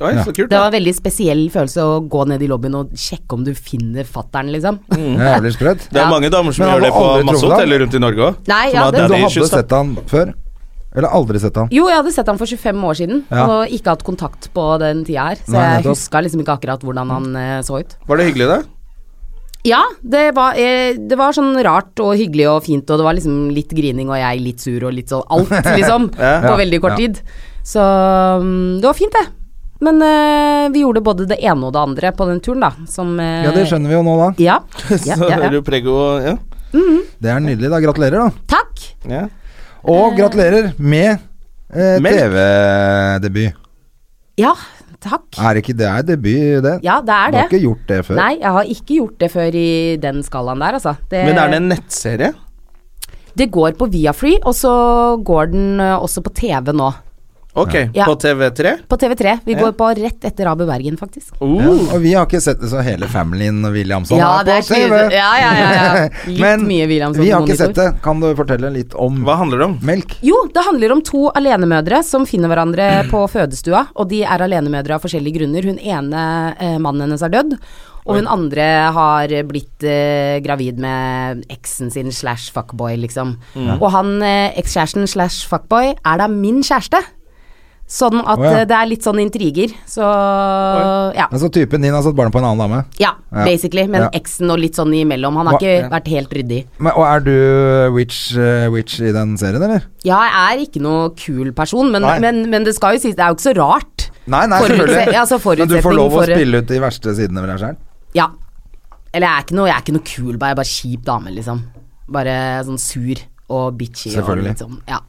Speaker 2: Oi, så kult.
Speaker 3: Det var
Speaker 2: Da.
Speaker 3: en veldig spesiell følelse å gå ned i lobbyen og sjekke om du finner fattern, liksom.
Speaker 1: Ja, Jævlig sprøtt.
Speaker 2: Det er mange damer som
Speaker 1: Men han
Speaker 2: gjør det
Speaker 1: var aldri
Speaker 2: på
Speaker 1: i
Speaker 2: masse
Speaker 1: Trondheim.
Speaker 2: hoteller rundt i Norge òg.
Speaker 3: Nei,
Speaker 2: Som
Speaker 3: ja,
Speaker 2: har
Speaker 3: det-
Speaker 1: Men du
Speaker 2: daddy
Speaker 1: hadde
Speaker 2: issues, da.
Speaker 1: sett han før? Eller aldri sett han?
Speaker 3: Jo, jeg hadde sett han for 25 år siden,
Speaker 1: Ja.
Speaker 3: og ikke hatt kontakt på den tida her. Så
Speaker 1: Nei,
Speaker 3: jeg
Speaker 1: nettopp.
Speaker 3: huska liksom ikke akkurat hvordan han eh, så ut.
Speaker 2: Var det hyggelig, da?
Speaker 3: Ja, det var, eh, det var sånn rart og hyggelig og fint, og det var liksom litt grining og jeg litt sur og litt sånn alt, liksom,
Speaker 2: Ja.
Speaker 3: på veldig kort
Speaker 1: Ja.
Speaker 3: tid. Så mm, det var fint, det. Men eh, vi gjorde både det ene og det andre på den turen, da, som eh,
Speaker 1: Ja, det skjønner vi jo nå, da.
Speaker 3: Ja. ja,
Speaker 2: Så
Speaker 3: ja,
Speaker 2: hører
Speaker 3: ja.
Speaker 2: du prego og ja.
Speaker 1: Det er nydelig, da. Gratulerer, da.
Speaker 3: Takk.
Speaker 2: ja.
Speaker 1: Og gratulerer med eh,
Speaker 2: Melk.
Speaker 1: TV-debut.
Speaker 3: Ja, takk.
Speaker 1: Er ikke det er debut, det?
Speaker 3: Ja, det er
Speaker 1: Du har
Speaker 3: det.
Speaker 1: ikke gjort det før?
Speaker 3: Nei, jeg har ikke gjort det før i den skalaen der, altså. Det-
Speaker 2: Men er det en nettserie?
Speaker 3: Det går på Viafree, og så går den ø, også på TV nå.
Speaker 2: Ok,
Speaker 3: Ja.
Speaker 2: på TV3?
Speaker 3: På TV3. Vi
Speaker 2: Ja.
Speaker 3: går på rett etter AB Bergen, faktisk.
Speaker 2: Oh.
Speaker 1: Ja, og vi har ikke sett det, så hele familien og Williamson Sånn
Speaker 3: Ja,
Speaker 1: er på
Speaker 3: det er
Speaker 1: TV.
Speaker 3: tydelig. Ja, ja, ja, ja. Litt
Speaker 1: Men
Speaker 3: mye Williamson
Speaker 1: vi
Speaker 3: på
Speaker 1: har ikke sett
Speaker 3: monitor.
Speaker 1: det. Kan du fortelle litt om
Speaker 2: Hva handler det om?
Speaker 1: melk?
Speaker 3: Jo, det handler om to alenemødre som finner hverandre på fødestua, og de er alenemødre av forskjellige grunner. Hun ene eh, mannen hennes er dødd, og hun andre har blitt eh, gravid med eksen sin slash fuckboy, liksom. Og han eh, ekskjæresten slash fuckboy er da min kjæreste. Sånn at
Speaker 1: Å, ja.
Speaker 3: eh, det er litt sånn intriger, så ja.
Speaker 1: Altså typen din har satt barn på en annen dame.
Speaker 3: Ja,
Speaker 1: Ja.
Speaker 3: basically. Men
Speaker 1: Ja.
Speaker 3: eksen og litt sånn imellom. Han har
Speaker 1: Hva-
Speaker 3: ikke
Speaker 1: ja.
Speaker 3: vært helt ryddig.
Speaker 1: Men, og er du witch, eh, witch i den serien, eller?
Speaker 3: Ja, jeg er ikke noe kul person, men,
Speaker 1: Nei.
Speaker 3: men, men det skal jo sies, det er jo ikke så rart.
Speaker 1: Nei, nei,
Speaker 3: Forutse-
Speaker 1: selvfølgelig.
Speaker 3: altså,
Speaker 1: Men du får
Speaker 3: forutsetning
Speaker 1: lov å
Speaker 3: for-
Speaker 1: spille ut de verste sidene ved deg sjøl.
Speaker 3: Ja. Eller jeg er ikke noe, jeg er ikke noe kul, bare, jeg er bare kjip dame, liksom. Bare sånn sur og bitchy.
Speaker 1: Selvfølgelig.
Speaker 3: Og litt sånn, ja.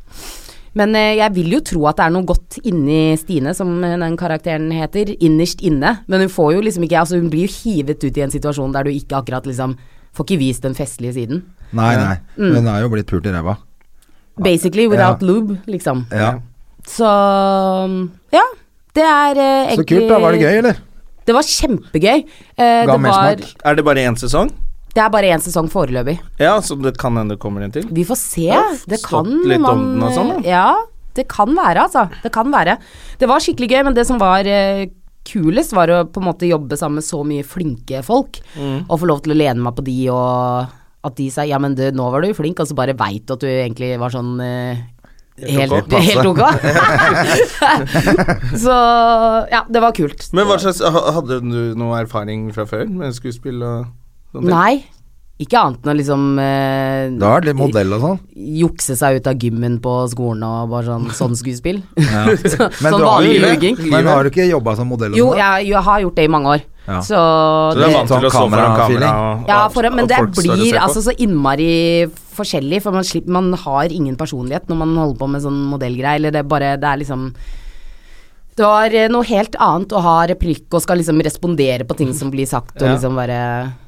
Speaker 3: Men eh, jeg vil jo tro at det er noe godt inni Stine, som eh, den karakteren heter, innerst inne. Men hun får jo liksom ikke Altså, hun blir jo hivet ut i en situasjon der du ikke akkurat liksom Får ikke vist den festlige siden.
Speaker 1: Nei, nei.
Speaker 3: Mm.
Speaker 1: Hun er jo blitt pult i ræva.
Speaker 3: Basically without
Speaker 1: Ja.
Speaker 3: lube, liksom.
Speaker 1: Ja.
Speaker 3: Så Ja. Det er eh,
Speaker 1: Så
Speaker 3: egentlig
Speaker 1: kult, da. Var det gøy, eller?
Speaker 3: Det var kjempegøy. Eh,
Speaker 1: Ga
Speaker 3: det, var,
Speaker 1: mersmak.
Speaker 2: Er det bare én sesong?
Speaker 3: det er bare én sesong foreløpig.
Speaker 2: Ja, som det kan hende kommer en til.
Speaker 3: Vi får se. Det
Speaker 2: stått
Speaker 3: kan
Speaker 2: litt om
Speaker 3: man eh,
Speaker 2: den og sånn, da.
Speaker 3: Ja, det kan være, altså. Det kan være. Det var skikkelig gøy, men det som var eh, kulest, var å på en måte jobbe sammen med så mye flinke folk,
Speaker 2: Mm.
Speaker 3: og få lov til å lene meg på de og at de sa ja, men du, nå var du flink, og så bare veit du at du egentlig var sånn eh,
Speaker 2: ok,
Speaker 3: Helt,
Speaker 2: passe.
Speaker 3: helt ok. så ja, det var kult.
Speaker 2: Men hva slags, ha- Hadde du noe erfaring fra før med skuespill og sånne ting?
Speaker 3: Nei, ikke annet enn å liksom eh,
Speaker 1: Det har vært litt modell og sånn.
Speaker 3: jukse seg ut av gymmen på skolen og bare sånn sånn skuespill. Så-
Speaker 1: Men du har
Speaker 3: sånn
Speaker 1: jo
Speaker 3: vanlig
Speaker 1: livet.
Speaker 3: luging.
Speaker 1: Men har du ikke jobba som modell? og
Speaker 3: Jo,
Speaker 1: sånn, da?
Speaker 3: jeg, jeg har gjort det i mange år.
Speaker 1: Ja.
Speaker 3: Så,
Speaker 2: Så du er
Speaker 3: det,
Speaker 2: vant til å stå
Speaker 1: Sånn
Speaker 2: foran kamera?
Speaker 1: kamerafeeling.
Speaker 2: og-
Speaker 3: ja,
Speaker 2: og-
Speaker 3: for, men
Speaker 2: og
Speaker 3: det
Speaker 2: folk står og
Speaker 3: blir
Speaker 2: ser på?
Speaker 3: altså så innmari forskjellig, for man, slipper, man har ingen personlighet når man holder på med sånn modellgreie, eller det er bare Det er liksom det var eh, noe helt annet å ha replikk og skal liksom respondere på ting som blir sagt, og
Speaker 2: Ja.
Speaker 3: liksom bare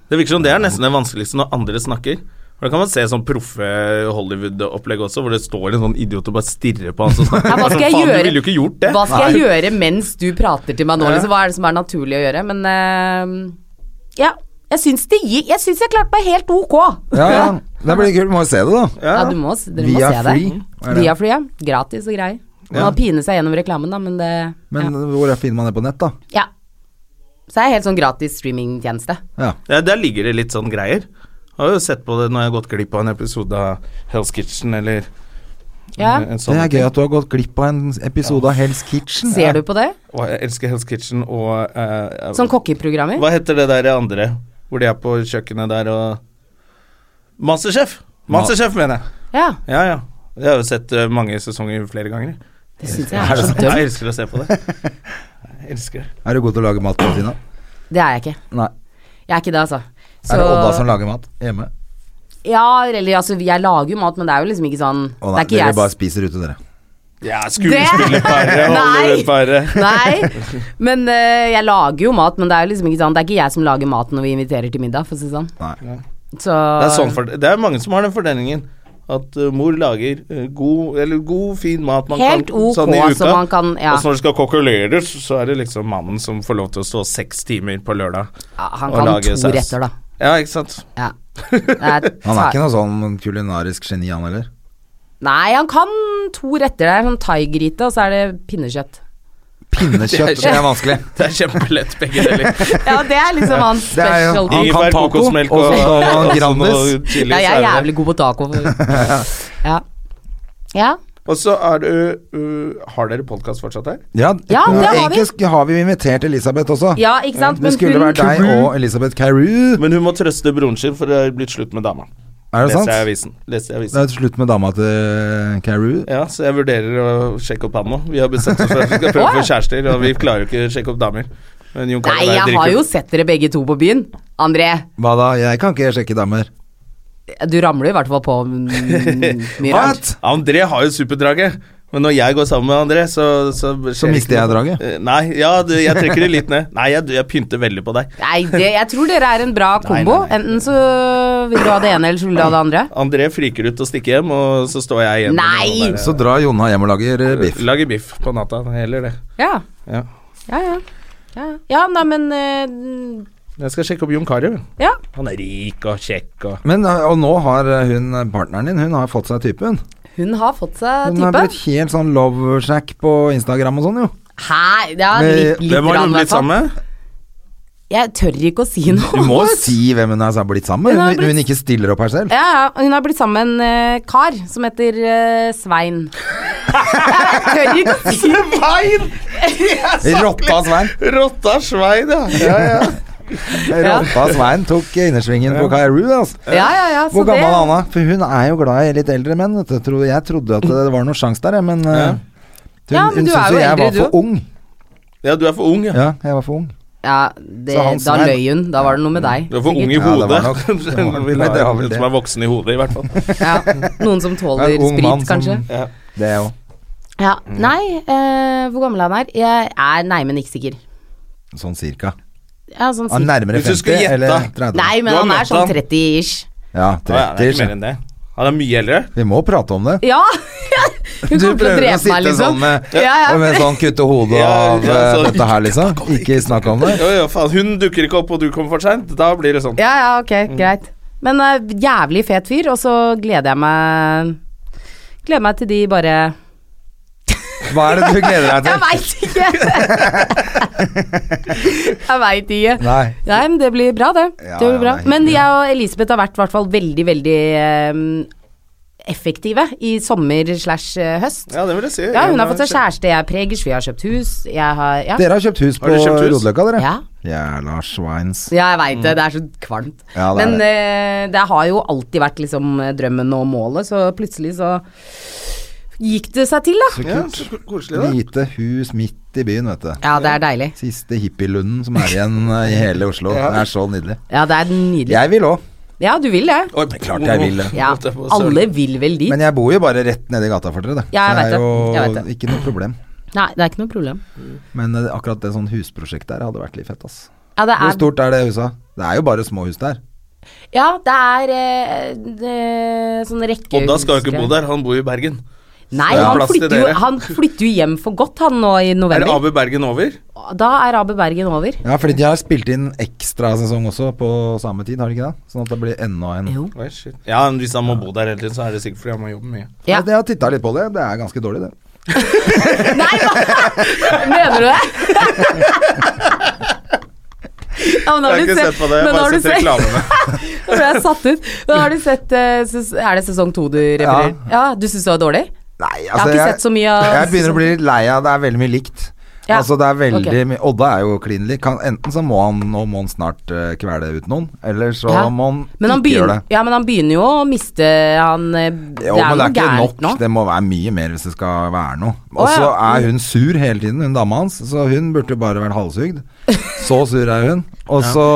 Speaker 2: Det virker som det er nesten det vanskeligste når andre snakker. For Da kan man se sånn proffe Hollywood-opplegg også, hvor det står en sånn idiot og bare stirrer på han som snakker.
Speaker 3: ja, Hva skal jeg
Speaker 2: Altså, Faen,
Speaker 3: gjøre?
Speaker 2: Du ville jo ikke gjort det.
Speaker 3: Hva skal jeg gjøre mens du prater til meg nå?
Speaker 2: Ja.
Speaker 3: Liksom, hva er det som er naturlig å gjøre? Men eh, ja, jeg syns det gikk Jeg syns jeg klarte meg helt ok.
Speaker 1: Ja, ja. Det blir kult. Må jo se det, da.
Speaker 3: Ja, du må, s- dere må
Speaker 1: Via
Speaker 3: se
Speaker 1: Free, er
Speaker 3: det.
Speaker 1: det?
Speaker 3: Via Free, ja. Gratis og greier. Man
Speaker 1: Ja.
Speaker 3: må pine seg gjennom reklamen, da, men det
Speaker 1: Men hvor finner man det på nett, da?
Speaker 3: ja. ja. Så er det helt sånn gratis streamingtjeneste.
Speaker 1: Ja.
Speaker 2: Ja, der ligger det litt sånn greier. Jeg har jo sett på det når jeg har gått glipp av en episode av Hell's Kitchen eller
Speaker 3: Ja.
Speaker 2: en sånn
Speaker 1: Det er
Speaker 2: ting.
Speaker 1: gøy at du har gått glipp av en episode av Hell's Kitchen.
Speaker 3: Ser du på det?
Speaker 2: Og jeg elsker Hell's Kitchen og eh, eh,
Speaker 3: Sånn kokkeprogrammer?
Speaker 2: Hva heter det der andre hvor de er på kjøkkenet der og Masterchef! Masterchef, mener jeg.
Speaker 3: Ja,
Speaker 2: Ja, ja. Jeg har jo sett eh, mange sesonger flere ganger. jeg.
Speaker 3: det syns jeg er så
Speaker 2: Ja,
Speaker 3: dumt.
Speaker 2: Jeg elsker å se på det. Jeg elsker det.
Speaker 1: Er du god til å lage mat, Tina?
Speaker 3: Det er jeg ikke.
Speaker 1: Nei.
Speaker 3: Jeg er ikke det, altså.
Speaker 1: Er det Odda som lager mat hjemme?
Speaker 3: Ja, eller altså, jeg lager jo mat, men det er jo liksom ikke sånn
Speaker 1: Å
Speaker 3: Det
Speaker 1: nei,
Speaker 3: er ikke
Speaker 1: dere
Speaker 3: jeg
Speaker 1: bare spiser ute, dere.
Speaker 2: Ja, skuespillerparet,
Speaker 3: Nei.
Speaker 2: Hollywood-paret.
Speaker 3: Nei, men eh, jeg lager jo mat, men det er jo liksom ikke sånn Det er ikke jeg som lager mat når vi inviterer til middag, for å si det sånn.
Speaker 1: Nei.
Speaker 3: Så
Speaker 2: Det er, sånn for, det er mange som har den fordelingen. At eh, mor lager eh, god, eller god, fin mat man
Speaker 3: Helt
Speaker 2: kan
Speaker 3: ok,
Speaker 2: sånn i uka.
Speaker 3: som man kan ja.
Speaker 2: Og så når det skal kokuleres, så er det liksom mannen som får lov til å stå seks timer på lørdag.
Speaker 3: Ja, Han
Speaker 2: og
Speaker 3: kan
Speaker 2: lage
Speaker 3: to
Speaker 2: saus.
Speaker 3: retter, da.
Speaker 2: Ja, ikke sant.
Speaker 3: Ja. Det er
Speaker 1: Han er
Speaker 3: ta-
Speaker 1: ikke noe sånn kulinarisk geni, han heller.
Speaker 3: Nei, han kan to retter. Det er sånn thaigryte, og så er det pinnekjøtt.
Speaker 1: Pinnekjøtt, det er vanskelig.
Speaker 2: Det er kjempelett, begge deler.
Speaker 3: Ja, det er liksom hans
Speaker 1: Det er jo-
Speaker 3: special.
Speaker 1: Han kan
Speaker 2: Ingefær,
Speaker 1: taco,
Speaker 2: kokosmelk
Speaker 1: og
Speaker 2: og,
Speaker 1: så har han
Speaker 2: og så
Speaker 1: Grandis.
Speaker 2: noe chili,
Speaker 3: Ja, jeg
Speaker 2: så
Speaker 3: er
Speaker 2: det det.
Speaker 3: jævlig god på taco. Ja. ja.
Speaker 2: Og så er det uh, Har dere podkast fortsatt her?
Speaker 1: Ja,
Speaker 3: Ja,
Speaker 1: eh,
Speaker 3: det har vi.
Speaker 1: egentlig sk- har vi invitert Elisabeth også.
Speaker 3: Ja, ikke sant?
Speaker 1: Det skulle
Speaker 3: hun-
Speaker 1: vært deg og Elisabeth Carew.
Speaker 2: Men hun må trøste broren sin, for det er blitt slutt med dama.
Speaker 1: Er det
Speaker 2: Leser
Speaker 1: sant?
Speaker 2: jeg i avisen. Leser jeg i
Speaker 1: Det
Speaker 2: avisen.
Speaker 1: er slutt med dama til Carew.
Speaker 2: Ja, så jeg vurderer å sjekke opp han nå. Vi har bestemt oss for at vi skal prøve å få kjærester, og vi klarer jo ikke å sjekke opp damer. Men Jon Carew
Speaker 3: Nei,
Speaker 2: er
Speaker 3: jeg har
Speaker 2: dritkul.
Speaker 3: jo sett dere begge to på byen. André,
Speaker 1: Hva da? Jeg kan ikke sjekke damer.
Speaker 3: du ramler i hvert fall på mm, mye
Speaker 1: What?
Speaker 3: rart.
Speaker 2: André har jo superdraget. Men når jeg går sammen med André, så Så, skjer
Speaker 1: mister
Speaker 2: ikke noe.
Speaker 1: jeg draget?
Speaker 2: Eh, Nei, ja, du, jeg trekker det litt ned. Nei, jeg, jeg pynter veldig på deg.
Speaker 3: Nei, det, jeg tror dere er en bra kombo. Enten så vil du ha det ene, eller så vil du ha det andre.
Speaker 2: André friker ut og stikker hjem, og så står jeg igjen med
Speaker 3: Nei!
Speaker 2: noe der.
Speaker 1: Så drar Jonna hjem og lager eh, biff.
Speaker 2: Lager biff på natta. Heller det.
Speaker 3: Ja,
Speaker 2: Ja.
Speaker 3: ja, ja. Ja, ja nei, men eh,
Speaker 2: Jeg skal sjekke opp Jon Carew.
Speaker 3: Ja.
Speaker 2: Han er rik og kjekk og
Speaker 1: Men, eh, og nå har eh, hun, eh, partneren din, hun har fått seg typen.
Speaker 3: Hun har fått seg
Speaker 1: Hun
Speaker 3: type.
Speaker 1: har blitt helt sånn love shack på Instagram og sånn, jo.
Speaker 3: Hæ? Ja,
Speaker 1: Men,
Speaker 3: litt, litt
Speaker 2: Hvem har
Speaker 3: grann,
Speaker 2: hun
Speaker 3: i hvert
Speaker 2: blitt
Speaker 3: fall.
Speaker 2: sammen med?
Speaker 3: Jeg tør ikke å si noe.
Speaker 1: Du må jo si hvem hun er blitt sammen
Speaker 3: Hun har
Speaker 1: med,
Speaker 3: blitt-
Speaker 1: hun, hun ikke stiller opp her selv.
Speaker 3: ja, ja, hun har blitt sammen med en eh, kar som heter eh, Svein. Jeg tør ikke å si
Speaker 2: Svein!
Speaker 1: Rotta Svein
Speaker 2: Rotta Svein, ja. ja, ja.
Speaker 1: Rotta Svein tok eh, innersvingen på Kairou. Altså.
Speaker 3: Ja, ja, ja.
Speaker 1: Hvor
Speaker 3: så det-
Speaker 1: gammel er Anna? For hun er jo glad i litt eldre menn. Vet du. Tro- Jeg trodde at det var noen sjanse der, jeg, men eh,
Speaker 2: Ja.
Speaker 1: hun,
Speaker 3: Ja, men
Speaker 1: hun
Speaker 3: du
Speaker 1: syntes
Speaker 3: er jo
Speaker 1: jo jeg
Speaker 3: eldre,
Speaker 1: var
Speaker 3: du
Speaker 1: for ung.
Speaker 2: Ja, du er for ung, ja.
Speaker 1: Ja, jeg var for ung.
Speaker 3: Ja, det,
Speaker 1: Så han
Speaker 3: da
Speaker 1: Svein-
Speaker 3: løy hun. Da var det noe med deg.
Speaker 2: Du er for ung i
Speaker 1: Ja, det
Speaker 2: hodet.
Speaker 1: var nok- det var-
Speaker 2: Vi
Speaker 1: Nei, det
Speaker 2: lar
Speaker 1: var vel
Speaker 2: en
Speaker 1: det.
Speaker 2: som er voksen i hodet, i hvert fall.
Speaker 3: Ja, noen som tåler
Speaker 1: En ung mann
Speaker 3: sprit,
Speaker 1: som-
Speaker 3: kanskje.
Speaker 2: Ja.
Speaker 1: Det er jo
Speaker 3: Ja. Nei, eh, hvor gammel han er? Jeg er nei, men ikke sikker.
Speaker 1: Sånn cirka.
Speaker 3: Ja, sånn
Speaker 1: Han
Speaker 3: sikker.
Speaker 1: er nærmere
Speaker 2: Hvis du
Speaker 1: 50
Speaker 2: skulle gjette,
Speaker 1: eller
Speaker 2: da.
Speaker 1: 30.
Speaker 3: Nei, men
Speaker 2: Du har
Speaker 3: han
Speaker 2: møtt
Speaker 3: er sånn
Speaker 2: han.
Speaker 3: 30-ish.
Speaker 1: Ja, liksom.
Speaker 2: Å, ja, det er
Speaker 1: 30.
Speaker 2: ikke mer enn det. Han er mye eldre.
Speaker 1: Vi må prate om det.
Speaker 3: Ja! Hun
Speaker 1: Du
Speaker 3: kommer til å
Speaker 1: prøver å
Speaker 3: drepe
Speaker 1: sitte
Speaker 3: meg, liksom.
Speaker 1: sånn med,
Speaker 3: Ja, ja.
Speaker 1: og med sånn kutte hodet
Speaker 2: Ja,
Speaker 1: av
Speaker 2: ja,
Speaker 1: eh,
Speaker 2: så-
Speaker 1: dette her, liksom. Ikke snakk om det.
Speaker 2: Jo, jo, faen. Hun dukker ikke opp, og du kommer for seint. Da blir det sånn.
Speaker 3: Ja, ja, ok,
Speaker 1: Mm.
Speaker 3: greit. Men eh, jævlig fet fyr, og så gleder jeg meg Gleder meg til de bare
Speaker 1: Hva er det du gleder deg
Speaker 3: Jeg
Speaker 1: til?
Speaker 3: veit ikke! jeg veit ikke.
Speaker 1: Nei.
Speaker 3: Nei, men det blir bra, det.
Speaker 1: Ja,
Speaker 3: det blir
Speaker 1: ja,
Speaker 3: bra.
Speaker 1: det er
Speaker 3: men
Speaker 1: hyggelig.
Speaker 3: jeg og Elisabeth har vært i hvert fall veldig, veldig eh, effektive i sommer slash eh, høst.
Speaker 2: Ja, det vil jeg si.
Speaker 3: Ja, hun har fått seg kjæreste, jeg er pregers, vi har kjøpt hus, jeg har Ja,
Speaker 1: Dere har kjøpt hus på
Speaker 2: Har dere kjøpt hus?
Speaker 1: Rodeløkka, dere?
Speaker 3: ja.
Speaker 1: Jævla sveins.
Speaker 3: ja jeg veit det, det er så kvalmt.
Speaker 1: Mm. Ja, det er
Speaker 3: Men eh, det har jo alltid vært liksom drømmen og målet, så plutselig så gikk det seg til, da.
Speaker 2: Ja, så ko- koselig, da.
Speaker 1: Lite hus midt i byen, vet du.
Speaker 3: Ja, det er deilig.
Speaker 1: Siste hippielunden som er igjen eh, i hele Oslo. Det er så nydelig.
Speaker 3: Ja, det er nydelig.
Speaker 1: Jeg vil òg,
Speaker 3: Ja, du vil det.
Speaker 2: Oi,
Speaker 1: Det er klart jeg vil det.
Speaker 3: Ja,
Speaker 2: holdt jeg på å søle.
Speaker 3: alle vil vel dit.
Speaker 1: men jeg bor jo bare rett nedi gata for dere, da.
Speaker 3: Ja, jeg
Speaker 1: så det er
Speaker 3: vet det. Jeg
Speaker 1: jo
Speaker 3: vet
Speaker 1: ikke noe problem.
Speaker 3: Nei, det er ikke noe problem.
Speaker 1: Men eh, akkurat det sånn husprosjektet der hadde vært litt fett, ass.
Speaker 3: Ja, det
Speaker 1: Hvor
Speaker 3: er
Speaker 1: stort er det huset? Det er jo bare små hus der.
Speaker 3: Ja, det er eh, det- sånn rekkehus
Speaker 2: Odda skal jo ikke bo der, han bor i Bergen.
Speaker 3: Nei,
Speaker 2: Det er
Speaker 3: han
Speaker 2: plass til
Speaker 3: flytter, jo,
Speaker 2: dere.
Speaker 3: han flytter jo hjem for godt, han nå i
Speaker 2: Er det
Speaker 3: november.
Speaker 2: Abu Bergen over?
Speaker 3: Da er Abu Bergen over.
Speaker 1: Ja, fordi de har spilt inn ekstrasesong også på samme tid, har de ikke det? Sånn at det blir enda en.
Speaker 3: Jo.
Speaker 2: Oi, shit. Ja, men hvis han må bo der hele tiden, så er det sikkert fordi han må jobbe mye.
Speaker 3: Ja.
Speaker 1: Ja. Altså, Jeg har titta litt på det, det er ganske dårlig, det.
Speaker 3: Nei, hva? Mener du det? Ja,
Speaker 2: Jeg
Speaker 3: men har
Speaker 2: har
Speaker 3: du
Speaker 2: ikke
Speaker 3: sett,
Speaker 2: sett på det, jeg
Speaker 3: men
Speaker 2: bare
Speaker 3: har du
Speaker 2: sett
Speaker 3: sett-
Speaker 2: reklamene.
Speaker 3: Nå ble jeg satt ut. Men har du sett eh, ses- Er det sesong to du refererer? Ja. Du syns det var dårlig?
Speaker 1: Nei, altså,
Speaker 3: har ikke sett så mye av-
Speaker 1: Jeg begynner å bli litt lei av det er veldig mye likt.
Speaker 3: Ja,
Speaker 1: Altså det er veldig
Speaker 3: ok.
Speaker 1: mye Odda er jo klin lik. Han- Enten så må han, nå må han snart eh, kvele ut noen, eller så
Speaker 3: Ja.
Speaker 1: må han
Speaker 3: Men han,
Speaker 1: ikke gjøre
Speaker 3: begynner,
Speaker 1: det.
Speaker 3: ja, men han begynner jo å miste han eh, Det
Speaker 1: Jo,
Speaker 3: er
Speaker 1: men
Speaker 3: jo
Speaker 1: det er ikke
Speaker 3: gærent
Speaker 1: nok.
Speaker 3: nå.
Speaker 1: Det må være mye mer hvis det skal være noe. Og
Speaker 3: Å,
Speaker 1: så
Speaker 3: ja.
Speaker 1: er hun sur hele tiden, hun dama hans, så hun burde jo bare vært halshugd. Så sur er hun. Og så